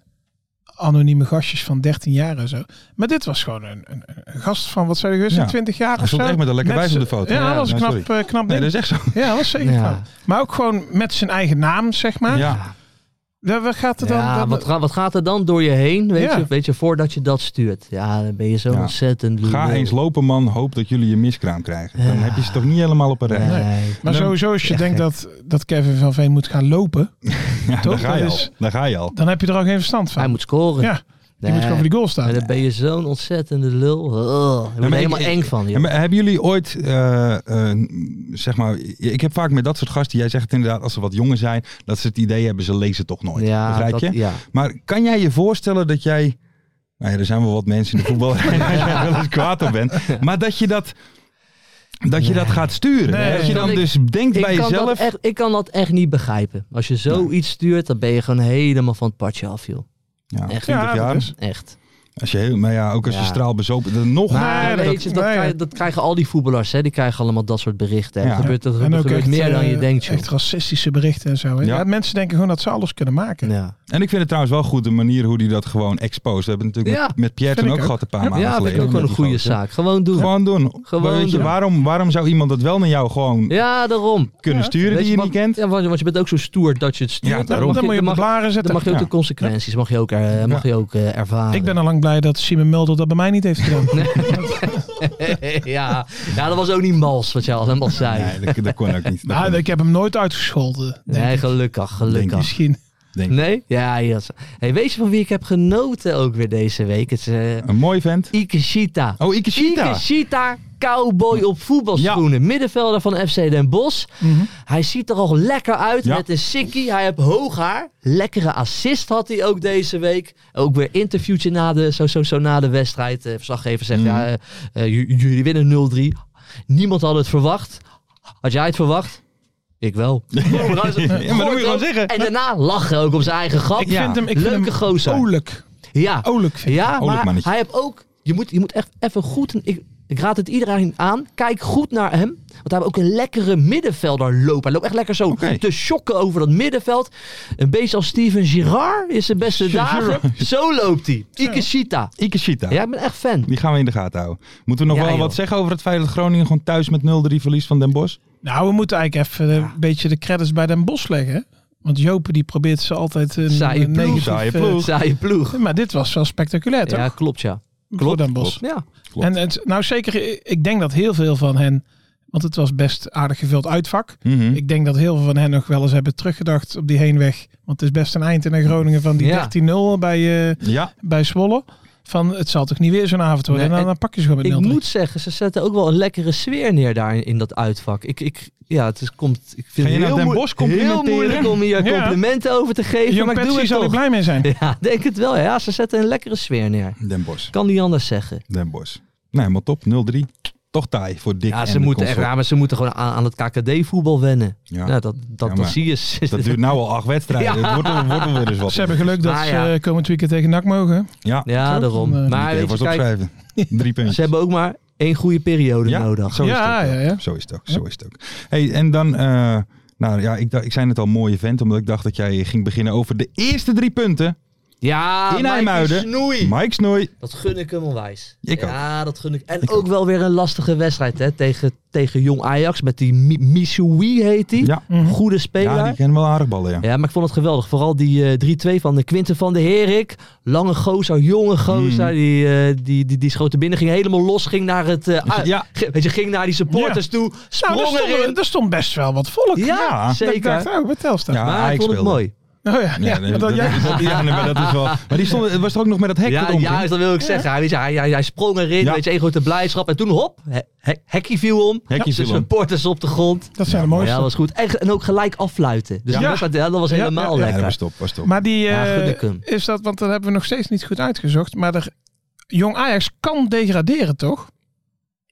Speaker 5: anonieme gastjes van 13 jaar en zo. Maar dit was gewoon een, een, een gast van, wat zei je,
Speaker 2: Ja.
Speaker 5: geweest, 20 jaar
Speaker 2: Hij
Speaker 5: of zo.
Speaker 2: stond echt met een lekker
Speaker 5: Net
Speaker 2: wijf op
Speaker 5: zo-
Speaker 2: de foto.
Speaker 5: Ja,
Speaker 2: Ja,
Speaker 5: dat was een
Speaker 2: nou,
Speaker 5: knap, eh, knap
Speaker 2: Nee,
Speaker 5: ding.
Speaker 2: dat is echt zo.
Speaker 5: Ja, dat was zeker
Speaker 4: Ja.
Speaker 5: knap. Maar ook gewoon met zijn eigen naam, zeg maar.
Speaker 2: Ja.
Speaker 5: Daar- Waar gaat er dan?
Speaker 4: ja,
Speaker 5: dan-
Speaker 4: wat, ga- wat gaat er dan door je heen, weet,
Speaker 5: Ja.
Speaker 4: je, weet je, voordat je dat stuurt? Ja, dan ben je zo
Speaker 2: Ja.
Speaker 4: ontzettend
Speaker 2: Ga
Speaker 4: lul.
Speaker 2: eens lopen man, hoop dat jullie een miskraam krijgen. Dan
Speaker 4: Ja.
Speaker 2: heb je ze toch niet helemaal op een rij.
Speaker 4: Nee.
Speaker 2: dan-
Speaker 5: maar sowieso als je
Speaker 4: Ja,
Speaker 5: denkt
Speaker 4: gek.
Speaker 5: dat, dat Kevin van Veen moet gaan lopen,
Speaker 2: Ja, daar,
Speaker 5: Toch?
Speaker 2: ga je
Speaker 5: Dat
Speaker 2: al.
Speaker 5: is-
Speaker 2: daar ga je al.
Speaker 5: dan heb je er al geen verstand van.
Speaker 4: Hij moet scoren.
Speaker 5: Ja, die
Speaker 4: Nee.
Speaker 5: moet gewoon voor die goal staan.
Speaker 4: Maar dan ben je zo'n ontzettende lul. Oh, ik word
Speaker 2: maar
Speaker 4: er
Speaker 2: ik-
Speaker 4: helemaal
Speaker 2: ik-
Speaker 4: eng van. joh.
Speaker 2: En maar hebben jullie ooit, eh, eh, zeg maar, ik heb vaak met dat soort gasten, jij zegt het inderdaad, als ze wat jonger zijn, dat ze het idee hebben, ze lezen toch nooit. Begrijp
Speaker 4: dat-
Speaker 2: je?
Speaker 4: ja.
Speaker 2: Maar kan jij je voorstellen dat jij. Nou ja, er zijn wel wat mensen in de voetballerij waar jij wel eens kwaad op bent. Maar dat je dat, dat, je dat gaat sturen.
Speaker 5: Nee.
Speaker 2: dat je dan
Speaker 4: Ik-
Speaker 2: dus denkt bij
Speaker 4: kan
Speaker 2: jezelf.
Speaker 4: Dat echt, ik kan dat echt niet begrijpen. Als je zoiets stuurt, dan ben je gewoon helemaal van het padje af, joh.
Speaker 2: ja,
Speaker 4: echt.
Speaker 2: 20
Speaker 5: Ja, dat
Speaker 2: jaar.
Speaker 5: is-
Speaker 4: Echt.
Speaker 2: Als je heel, maar ja, ook als je
Speaker 4: Ja.
Speaker 2: straal bezopen. Dan nog.
Speaker 4: Maar
Speaker 5: dat-
Speaker 4: weet je, dat,
Speaker 5: nee.
Speaker 4: krijg- dat krijgen al die voetballers, hè. Die krijgen allemaal dat soort berichten.
Speaker 2: Ja.
Speaker 4: Er gebeurt, er
Speaker 5: En ook
Speaker 4: gebeurt
Speaker 5: echt,
Speaker 4: meer dan je
Speaker 5: eh,
Speaker 4: denkt, joh.
Speaker 5: Echt racistische berichten en zo. hè.
Speaker 2: Ja.
Speaker 5: Ja. mensen denken gewoon dat ze alles kunnen maken.
Speaker 4: ja.
Speaker 2: En ik vind het trouwens wel goed de manier hoe die dat gewoon exposed. We hebben het natuurlijk
Speaker 4: Ja,
Speaker 2: met, met Pierre
Speaker 5: vind
Speaker 2: toen ook
Speaker 5: ik ook.
Speaker 2: gehad een paar maanden
Speaker 4: ja, vind
Speaker 2: geleden.
Speaker 4: ik ook gewoon een
Speaker 2: met die
Speaker 4: goede
Speaker 2: gozer.
Speaker 4: zaak. Gewoon doen.
Speaker 2: Gewoon doen.
Speaker 4: Gewoon
Speaker 2: Weet je,
Speaker 4: doen.
Speaker 2: Waarom, waarom zou iemand dat wel naar jou gewoon
Speaker 4: Ja, daarom.
Speaker 2: kunnen sturen
Speaker 4: Weet
Speaker 2: die je
Speaker 4: wat-
Speaker 2: niet kent?
Speaker 4: Ja, want, want je bent ook zo stoer dat je het stuurt.
Speaker 2: Ja,
Speaker 4: Dan
Speaker 2: daarom.
Speaker 4: mag
Speaker 5: Dan moet je op
Speaker 4: dan
Speaker 5: de
Speaker 4: mag,
Speaker 5: blaren
Speaker 4: dan
Speaker 5: zetten.
Speaker 4: mag je ook de consequenties mag je ook, er- mag je ook eh, ervaren.
Speaker 5: Ik ben al lang blij dat Simon Mulder dat bij mij niet heeft gedaan.
Speaker 4: ja. ja, dat was ook niet mals wat jij allemaal zei.
Speaker 2: Nee, dat, dat kon ook niet. Dat kon
Speaker 5: nou, ik heb hem nooit uitgescholden. denk
Speaker 4: Nee,
Speaker 5: ik.
Speaker 4: gelukkig, gelukkig.
Speaker 5: Misschien.
Speaker 2: denk ik.
Speaker 4: Nee? Ja, yes. hey, weet je van wie ik heb genoten ook weer deze week? Het is eh,
Speaker 2: Een mooi vent.
Speaker 4: Ikeshita.
Speaker 2: Oh, Ikeshita.
Speaker 4: Ikeshita, cowboy op voetbalschoenen. Middenvelder van FC Den Bosch. Hij ziet er al lekker uit
Speaker 2: Mhm. Ja.
Speaker 4: met een sikkie. Hij heeft hoog haar. Lekkere assist had hij ook deze week. Ook weer interviewtje na de, zo, zo, zo na de wedstrijd. De verslaggever zegt,
Speaker 2: Mhm.
Speaker 4: ja, eh, eh, j- jullie winnen 0-3. Niemand had het verwacht. Had jij het verwacht? Ik wel. maar dat
Speaker 2: moet je gewoon zeggen.
Speaker 4: En daarna lachen ook op zijn eigen grap.
Speaker 5: Ik vind hem, ik
Speaker 4: Leuke
Speaker 5: vind hem
Speaker 4: gozer.
Speaker 5: Olijk.
Speaker 4: Ja.
Speaker 5: Olijk vind ik.
Speaker 4: Ja,
Speaker 2: Olijk
Speaker 4: maar
Speaker 2: mannetje.
Speaker 4: hij heeft ook... Je moet, je moet echt even goed... een- ik, ik raad het iedereen aan. Kijk goed naar hem. Want hij heeft ook een lekkere middenvelder lopen. Hij loopt echt lekker zo
Speaker 2: Oké.
Speaker 4: te shocken over dat middenveld. Een beetje als Steven Girard is zijn beste dagen. Zo loopt hij. Ikeshita.
Speaker 2: Ikeshita.
Speaker 4: Ja, ik ben echt fan.
Speaker 2: Die gaan we in de gaten houden. Moeten we nog
Speaker 4: Ja,
Speaker 2: wel
Speaker 4: joh.
Speaker 2: wat zeggen over het feit dat Groningen gewoon thuis met 0-3 verliest van Den Bosch?
Speaker 5: Nou, we moeten eigenlijk even eh, een beetje de credits bij Den Bos leggen. hè. Want Jopen die probeert ze altijd een,
Speaker 4: Saaie
Speaker 5: een
Speaker 4: ploeg.
Speaker 5: negatief...
Speaker 2: Saaie
Speaker 5: eh,
Speaker 2: ploeg.
Speaker 4: Saaie ploeg.
Speaker 5: Maar dit was wel spectaculair, toch?
Speaker 4: Ja, klopt ja.
Speaker 5: Voor Den Bos.
Speaker 4: Ja.
Speaker 2: Klopt.
Speaker 5: En het, nou zeker, ik denk dat heel veel van hen Want het was best aardig gevuld uitvak.
Speaker 2: Mhm.
Speaker 5: Ik denk dat heel veel van hen nog wel eens hebben teruggedacht op die heenweg. Want het is best een eind in Groningen van die
Speaker 4: Ja.
Speaker 5: 13-0 bij, eh,
Speaker 2: Ja,
Speaker 5: bij Zwolle. Van het zal toch niet weer zo'n avond worden.
Speaker 4: Nee,
Speaker 5: en dan,
Speaker 4: en
Speaker 5: dan pak je ze gewoon met
Speaker 4: Ik
Speaker 5: 0
Speaker 4: moet zeggen, ze zetten ook wel een lekkere sfeer neer daar in, in dat uitvak. Ik, ik, ja, het is, komt, ik vind
Speaker 2: Ga
Speaker 4: het
Speaker 2: je nou
Speaker 4: heel,
Speaker 2: Den
Speaker 4: moe-
Speaker 2: Bosch
Speaker 4: heel
Speaker 2: complimenteren?
Speaker 4: moeilijk om hier
Speaker 5: Ja.
Speaker 4: complimenten over te geven.
Speaker 5: Jong
Speaker 4: maar ik doe
Speaker 5: Petsy
Speaker 4: het
Speaker 5: zal er
Speaker 4: toch.
Speaker 5: blij mee zijn.
Speaker 4: Ja, denk het wel. Ja, ze zetten een lekkere sfeer neer.
Speaker 2: Den Bos.
Speaker 4: Kan niet anders zeggen.
Speaker 2: Den Bos. Nou, helemaal top. 0-3. Toch taai voor Dick
Speaker 4: Ja,
Speaker 2: en
Speaker 4: ze
Speaker 2: de
Speaker 4: moeten, echt,
Speaker 2: console.
Speaker 4: ja, maar ze moeten gewoon aan, aan het KKD-voetbal wennen.
Speaker 2: Ja.
Speaker 4: Ja. dat, dat,
Speaker 2: Ja,
Speaker 4: dat
Speaker 2: maar
Speaker 4: zie je.
Speaker 2: Dat duurt nou al acht wedstrijden.
Speaker 4: Ja.
Speaker 2: Het wordt, er- wordt er weer eens wat.
Speaker 5: Ze hebben geluk dat
Speaker 4: Maar
Speaker 5: ze
Speaker 4: Ah, ja.
Speaker 5: eh, komend weekend tegen NAC mogen.
Speaker 2: Ja,
Speaker 4: Ja,
Speaker 5: Zo,
Speaker 4: daarom.
Speaker 5: dan, eh,
Speaker 4: maar
Speaker 2: Moet ik
Speaker 4: weet je,
Speaker 2: even wat
Speaker 4: kijk,
Speaker 2: opschrijven. Drie puntjes.
Speaker 4: ze hebben ook maar één goede periode
Speaker 2: ja,
Speaker 4: nodig.
Speaker 2: Zo is
Speaker 5: Ja,
Speaker 2: het ook.
Speaker 5: ja, Nou, ja.
Speaker 2: Zo is het ook. Zo is het ook. Hey, en dan, eh, nou ja, ik, dacht- ik zei net al mooie vent, omdat ik dacht dat jij ging beginnen over de eerste drie punten.
Speaker 4: Ja,
Speaker 2: In
Speaker 4: Mike
Speaker 2: IJmuiden.
Speaker 4: Snoei.
Speaker 2: Mike Snoei.
Speaker 4: Dat gun ik hem onwijs.
Speaker 2: Ik ook.
Speaker 4: ja, dat gun ik. En
Speaker 2: Ik
Speaker 4: ook wel weer een lastige wedstrijd hè? Tegen, tegen jong Ajax. Met die Mi- Missoui heet hij.
Speaker 2: Ja.
Speaker 4: Goede speler.
Speaker 2: Ja,
Speaker 4: Ja,
Speaker 2: die kennen wel aardig ballen, ja.
Speaker 4: maar ik vond het geweldig. Vooral die eh 3-2 van de Quinten van de Herik. Lange gozer, jonge gozer. Die, eh, die, die, die schoot er binnen. Ging helemaal los. Ging naar, het, eh, uit-
Speaker 2: Ja.
Speaker 4: ge- weet je, ging naar die supporters toe.
Speaker 5: Nou,
Speaker 4: Sprong
Speaker 5: daar
Speaker 4: erin.
Speaker 5: stond, er stond best wel wat volk.
Speaker 4: Ja,
Speaker 2: Ja,
Speaker 5: Ik dacht,
Speaker 4: zeker.
Speaker 5: oh, wat Telstar.
Speaker 2: Ja,
Speaker 4: Maar ik
Speaker 2: Ajax
Speaker 4: vond het
Speaker 2: Ah, speelde.
Speaker 4: mooi.
Speaker 5: Oh ja, ja,
Speaker 2: Ja,
Speaker 5: maar
Speaker 2: nee,
Speaker 5: dat,
Speaker 2: dat-
Speaker 5: jij-
Speaker 2: ja, nee, maar dat is wel. Maar die stond, was er ook nog met dat hek
Speaker 4: Ja,
Speaker 2: eromheen?
Speaker 4: juist, dat wil ik zeggen. Hij, hij, hij, hij sprong erin,
Speaker 2: Ja.
Speaker 4: weet je, één grote blijdschap. En toen hop, he, he- hekkie viel om.
Speaker 2: Hekkie
Speaker 4: Dus
Speaker 2: viel om.
Speaker 4: supporters op de grond.
Speaker 5: dat zijn de
Speaker 4: Maar
Speaker 5: mooiste.
Speaker 4: ja, dat was goed. En, en ook gelijk affluiten. Dus
Speaker 5: Ja.
Speaker 4: ja. dat, was- ja, dat was
Speaker 5: Ja,
Speaker 4: helemaal
Speaker 5: ja,
Speaker 2: Ja, dat
Speaker 4: lekker.
Speaker 2: was top, was top.
Speaker 5: Maar die
Speaker 4: Ja,
Speaker 5: eh,
Speaker 4: Gudde Kum.
Speaker 5: is dat, want dat hebben we nog steeds niet goed uitgezocht. Maar er, jong Ajax kan degraderen, toch?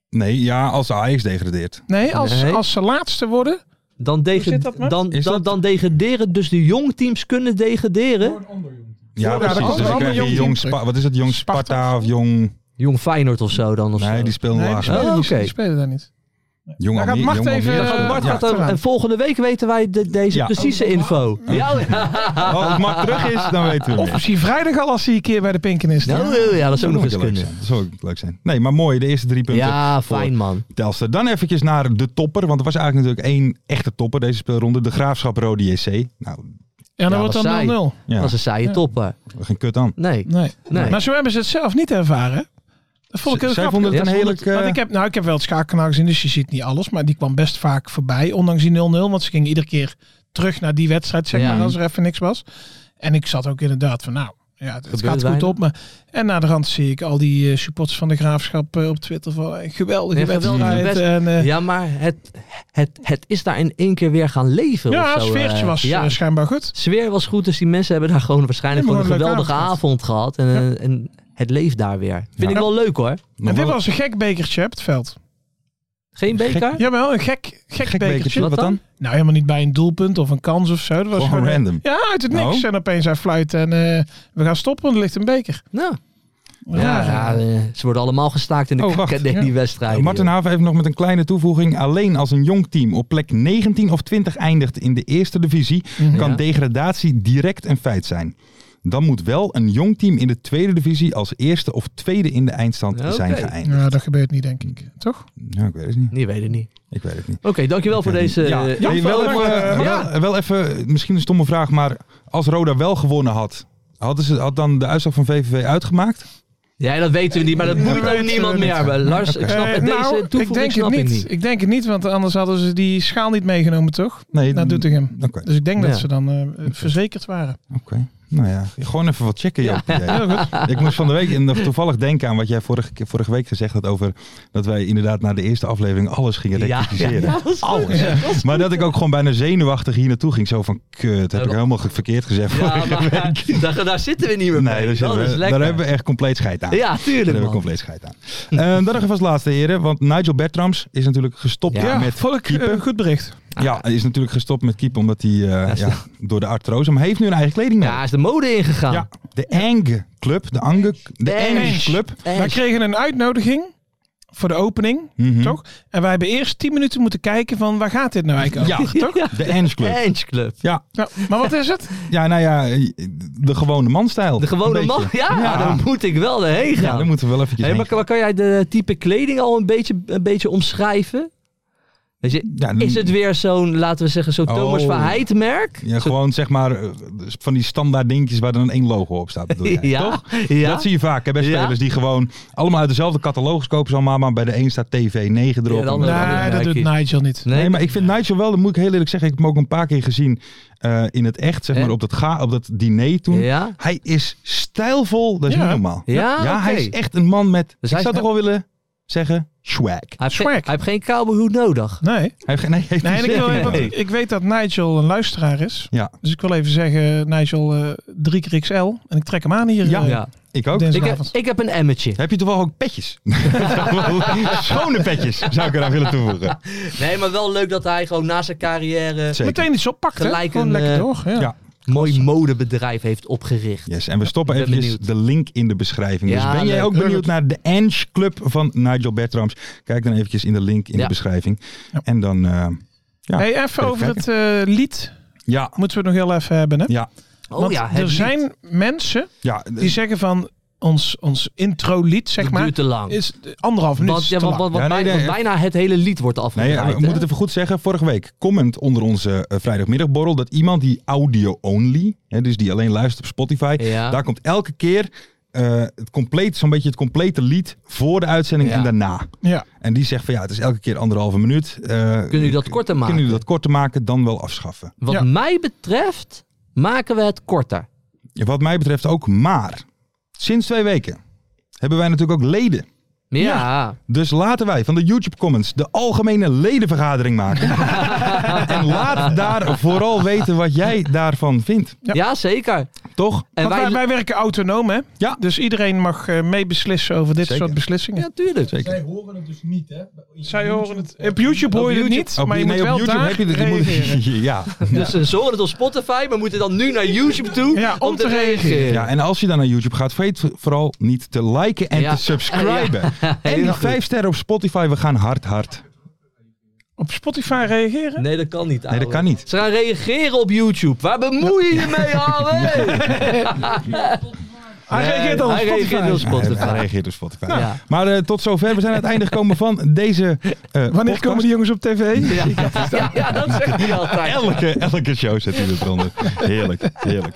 Speaker 2: Nee, ja, als Ajax degradeert.
Speaker 5: Nee, als,
Speaker 4: Nee.
Speaker 5: als ze laatste worden.
Speaker 4: Dan, dege-
Speaker 5: zit dat, man?
Speaker 4: dan,
Speaker 2: Is
Speaker 4: dan,
Speaker 2: dat-
Speaker 4: dan degraderen, dus de jongteams kunnen degraderen.
Speaker 2: Ja,
Speaker 5: Ja,
Speaker 2: precies.
Speaker 5: dat
Speaker 2: Dus
Speaker 5: komt
Speaker 2: dan
Speaker 5: wel
Speaker 2: krijg je
Speaker 5: een jong
Speaker 2: jong
Speaker 5: team
Speaker 2: Spa- wat is het? Jong
Speaker 5: Sparta.
Speaker 2: Sparta of jong...
Speaker 4: Jong Feyenoord of zo dan. Of
Speaker 2: Nee,
Speaker 4: zo.
Speaker 2: die spelen
Speaker 5: Nee, die
Speaker 2: lager.
Speaker 5: spelen,
Speaker 4: Oh,
Speaker 5: die-
Speaker 4: oké.
Speaker 5: die spelen daar niet.
Speaker 2: Jong
Speaker 5: Daar gaat
Speaker 2: Almere-
Speaker 5: Mart
Speaker 2: Jong
Speaker 5: even,
Speaker 2: Almere-
Speaker 5: eh,
Speaker 4: Dan gaat Bart
Speaker 2: Ja.
Speaker 4: gaat dan-
Speaker 5: achteraan.
Speaker 4: en volgende week weten wij de- deze
Speaker 2: Ja.
Speaker 4: precieze info. Ja, ja.
Speaker 2: Als het Mart Oh, terug is, dan weten we
Speaker 5: Of
Speaker 2: het.
Speaker 5: misschien vrijdag al als hij een keer bij de Pinken is.
Speaker 4: Nou, ja, dat zou ook nog eens kunnen.
Speaker 2: Dat zou ook leuk zijn. Nee, maar mooi. De eerste drie punten.
Speaker 4: Ja,
Speaker 2: voor
Speaker 4: fijn man.
Speaker 2: Telstar. Dan eventjes naar de topper. Want er was eigenlijk natuurlijk één echte topper deze speelronde. De Graafschap Rode JC. Nou,
Speaker 5: Ja, dan
Speaker 4: Ja,
Speaker 5: wordt
Speaker 4: dat zei-
Speaker 5: dan 0-0.
Speaker 2: ja,
Speaker 4: Dat is een saaie topper.
Speaker 2: geen kut aan.
Speaker 4: Nee.
Speaker 5: Nee.
Speaker 4: Nee.
Speaker 5: Maar zo hebben ze het zelf niet ervaren. hè? Dat vond ik heel
Speaker 2: Zij
Speaker 5: grappig.
Speaker 2: vonden het
Speaker 4: Ja,
Speaker 2: een eh,
Speaker 4: ze
Speaker 2: hele...
Speaker 4: vonden
Speaker 5: Want ik heb, nou, ik heb wel het schaakkanaal gezien, dus je ziet niet alles. Maar die kwam best vaak voorbij, ondanks die 0-0. Want ze gingen iedere keer terug naar die wedstrijd, zeg
Speaker 4: Ja.
Speaker 5: maar, als er even niks was. En ik zat ook inderdaad van, nou, ja, het
Speaker 4: Gebeurt
Speaker 5: gaat goed
Speaker 4: weinig.
Speaker 5: op. Maar, en na de rand zie ik al die eh, supporters van de Graafschap eh, op Twitter van, eh, geweldige
Speaker 4: Ja, geweldige
Speaker 5: wedstrijd.
Speaker 4: wedstrijd.
Speaker 5: En, eh, ja,
Speaker 4: Ja, maar het, het, het is daar in één keer weer gaan leven. of
Speaker 5: het
Speaker 4: zo,
Speaker 5: sfeertje
Speaker 4: eh.
Speaker 5: was
Speaker 4: Ja,
Speaker 5: eh, schijnbaar goed.
Speaker 4: sfeer was goed, dus die mensen hebben daar gewoon waarschijnlijk
Speaker 5: Ja, maar
Speaker 4: gewoon een
Speaker 5: gewoon een
Speaker 4: geweldige
Speaker 5: leuke
Speaker 4: avond gehad. En, eh, en het leeft daar weer. Vind ik wel leuk hoor.
Speaker 5: En dit was een gek bekertje op het veld.
Speaker 4: Geen beker?
Speaker 5: Jawel, een gek, gek,
Speaker 2: gek bekertje.
Speaker 4: Wat
Speaker 2: Wat dan?
Speaker 5: Nou, helemaal niet bij een doelpunt of een kans of zo. Dat was
Speaker 2: Gewoon
Speaker 5: gewoon
Speaker 2: random.
Speaker 5: Ja, uit het niks.
Speaker 2: Oh.
Speaker 5: En opeens hij fluit en eh, we gaan stoppen, want er ligt een beker.
Speaker 4: Nou, ja,
Speaker 5: Raar, hè?
Speaker 4: ja, eh, ze worden allemaal gestaakt in de
Speaker 2: Oh,
Speaker 4: oh,
Speaker 2: wacht,
Speaker 4: die
Speaker 5: ja.
Speaker 4: wedstrijd.
Speaker 2: Martin Haven heeft nog met een kleine toevoeging. Alleen als een jong team op plek 19 of 20 eindigt in de eerste divisie, kan
Speaker 4: Ja.
Speaker 2: degradatie direct een feit zijn. Dan moet wel een jong team in de tweede divisie als eerste of tweede in de eindstand
Speaker 4: Oké.
Speaker 2: zijn geëindigd.
Speaker 5: Ja, dat gebeurt niet, denk ik. Toch?
Speaker 2: Ja, ik weet het niet.
Speaker 4: Die weet het niet.
Speaker 2: Ik weet het niet.
Speaker 4: Oké, dankjewel voor deze...
Speaker 2: Ja,
Speaker 4: eh,
Speaker 2: hey, wel,
Speaker 5: bedankt,
Speaker 2: even,
Speaker 5: eh,
Speaker 2: wel-
Speaker 4: ja.
Speaker 2: wel, even, eh, misschien een stomme vraag, maar als Roda wel gewonnen had, hadden ze, had dan de uitslag van VVV uitgemaakt?
Speaker 4: ja, dat weten we niet, maar dat
Speaker 5: dat
Speaker 4: moet ook
Speaker 5: weten we
Speaker 4: niemand
Speaker 5: niet.
Speaker 4: meer. Maar Lars, ik snap
Speaker 5: Eh,
Speaker 4: het.
Speaker 5: nou,
Speaker 4: Deze
Speaker 5: ik
Speaker 4: toevoeging
Speaker 5: denk het
Speaker 4: snap ik
Speaker 5: niet.
Speaker 4: niet.
Speaker 5: Ik denk het niet, want anders hadden ze die schaal niet meegenomen, toch?
Speaker 2: Nee,
Speaker 4: Nou,
Speaker 5: Naar
Speaker 2: dat
Speaker 5: Doetinchem.
Speaker 2: Oké,
Speaker 5: Dus ik denk
Speaker 4: Ja.
Speaker 5: dat ze dan eh, verzekerd waren.
Speaker 2: oké. Nou ja, gewoon even wat checken, Joop. Jij.
Speaker 5: Heel goed.
Speaker 2: Ik moest van de week nog toevallig denken aan wat jij vorige, keer- vorige week gezegd had over dat wij inderdaad na de eerste aflevering alles gingen
Speaker 4: Ja, ja,
Speaker 2: rectificeren.
Speaker 4: dat is goed.
Speaker 2: Alles. Maar dat ik ook gewoon bijna zenuwachtig hier naartoe ging. Zo van, kut, heb ik helemaal ge- verkeerd gezegd
Speaker 4: Ja,
Speaker 2: vorige
Speaker 4: maar
Speaker 2: week.
Speaker 4: daar, daar zitten we niet meer mee. dat
Speaker 2: Nee, daar, zitten we-
Speaker 4: is lekker.
Speaker 2: daar hebben we echt compleet scheid aan.
Speaker 4: Ja,
Speaker 2: Daar
Speaker 4: tuurlijk
Speaker 2: hebben we
Speaker 4: man.
Speaker 2: compleet scheid aan. Eh, dan nog even als laatste heren, want Nigel Bertrams is natuurlijk gestopt
Speaker 4: Ja,
Speaker 5: Ja,
Speaker 2: met
Speaker 5: vond ik
Speaker 2: keeper.
Speaker 5: een eh, goed bericht.
Speaker 2: ja, is natuurlijk gestopt met keeper omdat hij eh,
Speaker 4: is-
Speaker 2: ja, door de artrose, maar heeft nu een eigen kleding
Speaker 4: Ja, hij
Speaker 2: nodig.
Speaker 4: is de mode ingegaan.
Speaker 2: Ja, de Eng Club, de Ange, de Eng Club.
Speaker 4: Echt.
Speaker 5: Wij kregen een uitnodiging voor de opening,
Speaker 2: Mhm.
Speaker 5: toch? En wij hebben eerst 10 minuten moeten kijken van waar gaat dit nou eigenlijk
Speaker 2: Ja,
Speaker 5: over, toch?
Speaker 4: Ja.
Speaker 2: de Eng Club.
Speaker 4: Eng Club.
Speaker 2: Ja,
Speaker 5: Ja, maar wat is het?
Speaker 2: ja, nou ja, de gewone manstijl.
Speaker 4: De gewone
Speaker 2: Een beetje.
Speaker 4: man. Ja, daar moet ik wel heen
Speaker 2: Ja,
Speaker 4: gaan.
Speaker 2: daar moeten we wel eventjes
Speaker 4: Hey,
Speaker 2: heen
Speaker 4: maar, kan- maar kan jij de type kleding al een beetje, een beetje omschrijven?
Speaker 8: Weet je,
Speaker 2: Ja,
Speaker 8: is het weer zo'n, laten we zeggen, zo'n
Speaker 2: Oh.
Speaker 8: Thomas van Heid merk?
Speaker 2: Ja,
Speaker 8: Zo'n-
Speaker 2: gewoon zeg maar eh, van die standaard dingetjes waar dan één logo op staat. bedoel jij,
Speaker 8: ja,
Speaker 2: Toch?
Speaker 8: ja.
Speaker 2: Dat zie je vaak hè, bij
Speaker 8: Ja.
Speaker 2: spelers die gewoon allemaal uit dezelfde catalogus kopen. Zo, maar maar bij de een staat TV9 erop.
Speaker 8: Ja, de andere-
Speaker 2: nee,
Speaker 5: Nee, dat doet
Speaker 8: Nike's.
Speaker 5: Nigel niet.
Speaker 8: Nee,
Speaker 2: maar ik vind Nigel wel, dat moet ik heel eerlijk zeggen. Ik heb hem ook een paar keer gezien eh, in het echt. Zeg
Speaker 8: Hè?
Speaker 2: maar op dat, ga, op dat diner toen.
Speaker 8: Ja?
Speaker 2: Hij is stijlvol, dat is
Speaker 5: Ja.
Speaker 2: niet normaal.
Speaker 8: Ja, oké.
Speaker 2: hij is echt een man met,
Speaker 8: Dus
Speaker 2: ik
Speaker 8: hij
Speaker 2: zou
Speaker 8: is-
Speaker 2: toch wel willen zeggen, swag.
Speaker 8: Hij heeft, geen, hij
Speaker 5: Swag.
Speaker 8: heeft geen cowboyhoed nodig.
Speaker 5: Nee.
Speaker 2: Hij heeft, geen- nee, hij heeft
Speaker 5: Nee, en
Speaker 2: die
Speaker 5: ik, wil
Speaker 2: zin.
Speaker 5: even, want ik weet dat Nigel een luisteraar is.
Speaker 2: Ja.
Speaker 5: Dus ik wil even zeggen, Nigel, eh drie keer XL. En ik trek hem aan hier.
Speaker 2: Ja.
Speaker 5: eh,
Speaker 8: Ja.
Speaker 2: Ik ook.
Speaker 8: Ik, heb,
Speaker 5: Vanavond.
Speaker 8: ik heb een emmetje.
Speaker 2: Heb je toevallig ook petjes? Schone petjes, zou ik eraan willen toevoegen.
Speaker 8: Nee, maar wel leuk dat hij gewoon na zijn carrière
Speaker 2: Zeker.
Speaker 5: Meteen iets oppakt, hè?
Speaker 8: Gelijk
Speaker 5: Gewoon
Speaker 8: een,
Speaker 5: lekker
Speaker 8: eh,
Speaker 5: door. Ja.
Speaker 2: Ja.
Speaker 8: een mooi modebedrijf heeft opgericht.
Speaker 2: Yes, en we stoppen
Speaker 8: Ik ben
Speaker 2: eventjes de link in de beschrijving.
Speaker 8: Ja,
Speaker 2: dus ben jij
Speaker 8: leuk.
Speaker 2: ook benieuwd naar de Ange Club van Nigel Bertrams? Kijk dan eventjes in de link in
Speaker 8: Ja.
Speaker 2: de beschrijving.
Speaker 5: Ja.
Speaker 2: En dan, eh, Ja.
Speaker 5: Hey, even
Speaker 2: Even
Speaker 5: over het eh, lied
Speaker 2: ja,
Speaker 5: moeten we het nog heel even hebben. Hè?
Speaker 2: ja,
Speaker 8: Oh
Speaker 5: Want
Speaker 8: ja, het
Speaker 5: er
Speaker 8: lied.
Speaker 5: zijn mensen
Speaker 2: ja.
Speaker 5: die zeggen van ons, ons intro-lied, zeg
Speaker 8: Het
Speaker 5: maar,
Speaker 8: duurt te lang.
Speaker 5: is anderhalf minuut.
Speaker 8: want, ja,
Speaker 5: te
Speaker 8: want,
Speaker 5: lang.
Speaker 8: want- want
Speaker 2: Ja, nee,
Speaker 8: bijna,
Speaker 2: nee,
Speaker 8: want bijna het hele lied wordt
Speaker 2: Nee,
Speaker 8: afgedraaid.
Speaker 2: ja, we moeten het even goed zeggen. Vorige week comment onder onze eh, vrijdagmiddagborrel dat iemand die audio-only, hè, dus die alleen luistert op Spotify,
Speaker 8: Ja.
Speaker 2: daar komt elke keer eh, het compleet, zo'n beetje het complete lied voor de uitzending
Speaker 8: Ja.
Speaker 2: en daarna.
Speaker 5: Ja.
Speaker 2: En die zegt van ja, het is elke keer anderhalve minuut. Eh,
Speaker 8: Kunnen jullie dat korter maken?
Speaker 2: Kunnen jullie dat korter maken, dan wel afschaffen.
Speaker 8: Wat
Speaker 5: Ja.
Speaker 8: mij betreft maken we het korter.
Speaker 2: Ja, wat mij betreft ook, maar sinds twee weken hebben wij natuurlijk ook leden.
Speaker 8: Ja,
Speaker 2: Dus laten wij van de YouTube comments de algemene ledenvergadering maken. en laat daar vooral weten wat jij daarvan vindt.
Speaker 8: ja. zeker.
Speaker 2: Toch?
Speaker 8: En
Speaker 5: Want wij,
Speaker 8: wij,
Speaker 5: wij werken autonoom, hè?
Speaker 2: Ja.
Speaker 5: Dus iedereen mag eh, meebeslissen over dit
Speaker 2: Zeker.
Speaker 5: soort beslissingen.
Speaker 8: ja, tuurlijk.
Speaker 2: Zeker.
Speaker 5: Zij horen het. Op YouTube hoor je het niet, maar je
Speaker 2: nee,
Speaker 5: moet wel
Speaker 2: op YouTube
Speaker 5: daar
Speaker 2: heb je de- je moet-
Speaker 5: reageren.
Speaker 2: ja.
Speaker 8: Dus eh, ze horen het op Spotify, maar moeten dan nu naar YouTube toe
Speaker 5: Ja, om te reageren.
Speaker 2: ja, en als je dan naar YouTube gaat, vergeet vooral niet te liken en
Speaker 8: Ja.
Speaker 2: te subscriben. En die
Speaker 8: Heel goed.
Speaker 2: vijf sterren op Spotify, we gaan hard, hard.
Speaker 5: Op Spotify reageren?
Speaker 8: Nee, dat kan niet.
Speaker 2: Nee, dat
Speaker 8: ouwe.
Speaker 2: kan niet.
Speaker 8: Ze gaan reageren op YouTube. Waar bemoei je je mee, Alwe?
Speaker 5: Hij reageert al op
Speaker 8: Hij reageert op
Speaker 5: Spotify.
Speaker 2: Nee, hij
Speaker 8: Spotify.
Speaker 2: reageert op Spotify.
Speaker 8: Ja.
Speaker 2: Maar eh, tot zover. We zijn aan het einde gekomen van deze eh
Speaker 5: Wanneer
Speaker 2: podcast.
Speaker 5: komen die jongens op tv?
Speaker 8: Ja. Ja, ja, dat zegt hij altijd.
Speaker 2: Elke, elke show zet hij eronder. Heerlijk, heerlijk.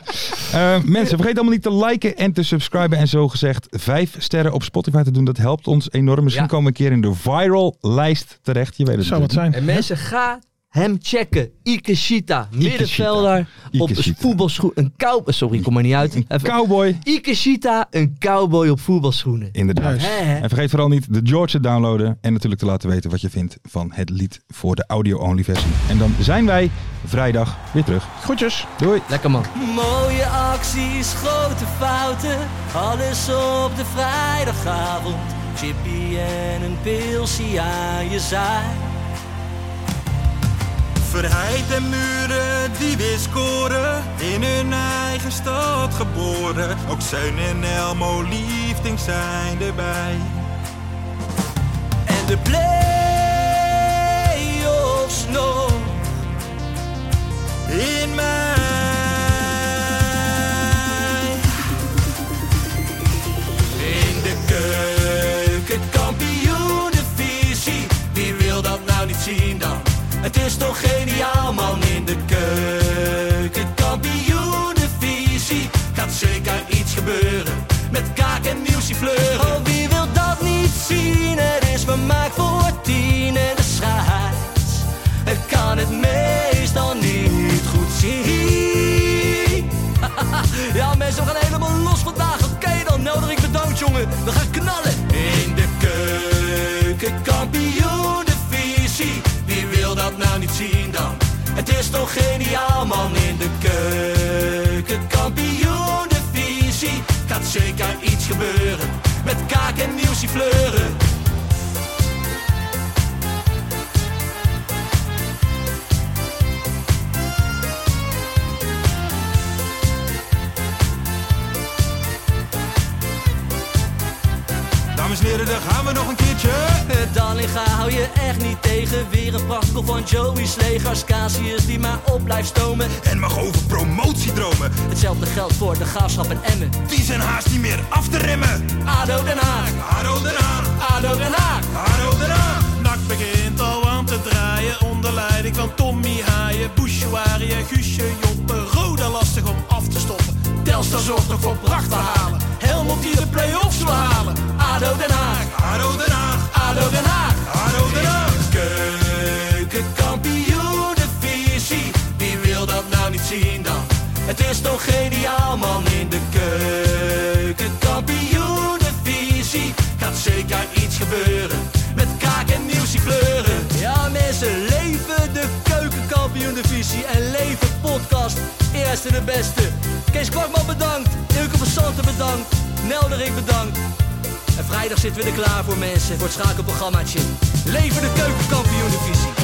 Speaker 2: Eh, mensen, vergeet allemaal niet te liken en te subscriben. En zo gezegd, vijf sterren op Spotify te doen. Dat helpt ons enorm. Misschien
Speaker 8: Ja.
Speaker 2: komen we een keer in de viral lijst terecht. Je weet het
Speaker 5: Zou wat
Speaker 2: natuurlijk
Speaker 5: zijn.
Speaker 8: En mensen, ga hem checken. Ikeshita, middenvelder. Op
Speaker 2: Ikeshita.
Speaker 8: voetbalschoen. Een cowboy. Sorry, ik kom er niet uit.
Speaker 2: niet.
Speaker 8: Even.
Speaker 2: Cowboy.
Speaker 8: Ikeshita, een cowboy op voetbalschoenen.
Speaker 2: Inderdaad.
Speaker 5: Juist.
Speaker 8: Hè, hè?
Speaker 2: En vergeet vooral niet de George te downloaden. En natuurlijk te laten weten wat je vindt van het lied voor de audio-only versie. En dan zijn wij vrijdag weer terug.
Speaker 5: Groetjes.
Speaker 2: Doei.
Speaker 8: Lekker man.
Speaker 4: Mooie acties, grote fouten, alles op de vrijdagavond. Chippy en een pilsie aan je zaai.
Speaker 3: Verheid en muren die weer scoren, in hun eigen stad geboren. Ook Zijn en Elmo liefding zijn erbij.
Speaker 4: En de play-offs nog in mij. In de keuken, kampioenenvisie. Wie wil dat nou niet zien dan? Het is toch geniaal man in de keuken, kampioenenvisie. Gaat zeker iets gebeuren met kaak en muziek fleuren. Oh, wie wil dat niet zien? Het is vermaakt voor tien en de scheids. Het kan het meestal niet goed zien. Ja, mensen, we gaan helemaal los vandaag. Oké, dan nodig ik bedankt, jongen. We gaan knallen. In de keuken, kampioen, de visie. Wie wil dat nou niet zien dan? Het is toch geniaal, man. In de keuken, kampioen, de visie. Gaat zeker iets gebeuren. Met kaak en nieuwsie fleuren.
Speaker 3: Dames en heren, daar gaan we nog een keertje.
Speaker 4: Dallinga hou je echt niet tegen. Weer een prachtkel van Joey's legers. Casius die maar op blijft stomen.
Speaker 3: En mag over promotiedromen,
Speaker 4: Hetzelfde geldt voor de gaafschap en Emmen.
Speaker 3: die zijn haast niet meer af te remmen.
Speaker 4: ADO Den Haag,
Speaker 3: Haro Den Haag,
Speaker 4: ADO Den Haag.
Speaker 3: Haro Den Haag.
Speaker 4: Nak begint al aan te het draaien onder leiding van Tommy Haaien, Bouchouari en Guusje Joppen. Roda lastig om af te stoppen. Telstar zorgt nog voor pracht te halen. Helmond die de play-offs wil halen. ADO Den Haag. ADO Den Haag. ADO Den Haag. ADO Den Haag. Keukenkampioenenvisie. Wie wil dat nou niet zien dan? Het is toch geniaal man in de keukenkampioenenvisie. Gaat zeker iets gebeuren. Met kaak en nieuwsje kleuren. Ja mensen, leven de keukenkampioenenvisie. En leven podcast. Eerste de beste. Kees Kwakman bedankt. Ilke van Santen bedankt. Nelderik bedankt. En vrijdag zitten we er klaar voor mensen, voor het schakelprogrammaatje. Leven de keukenkampioen divisie.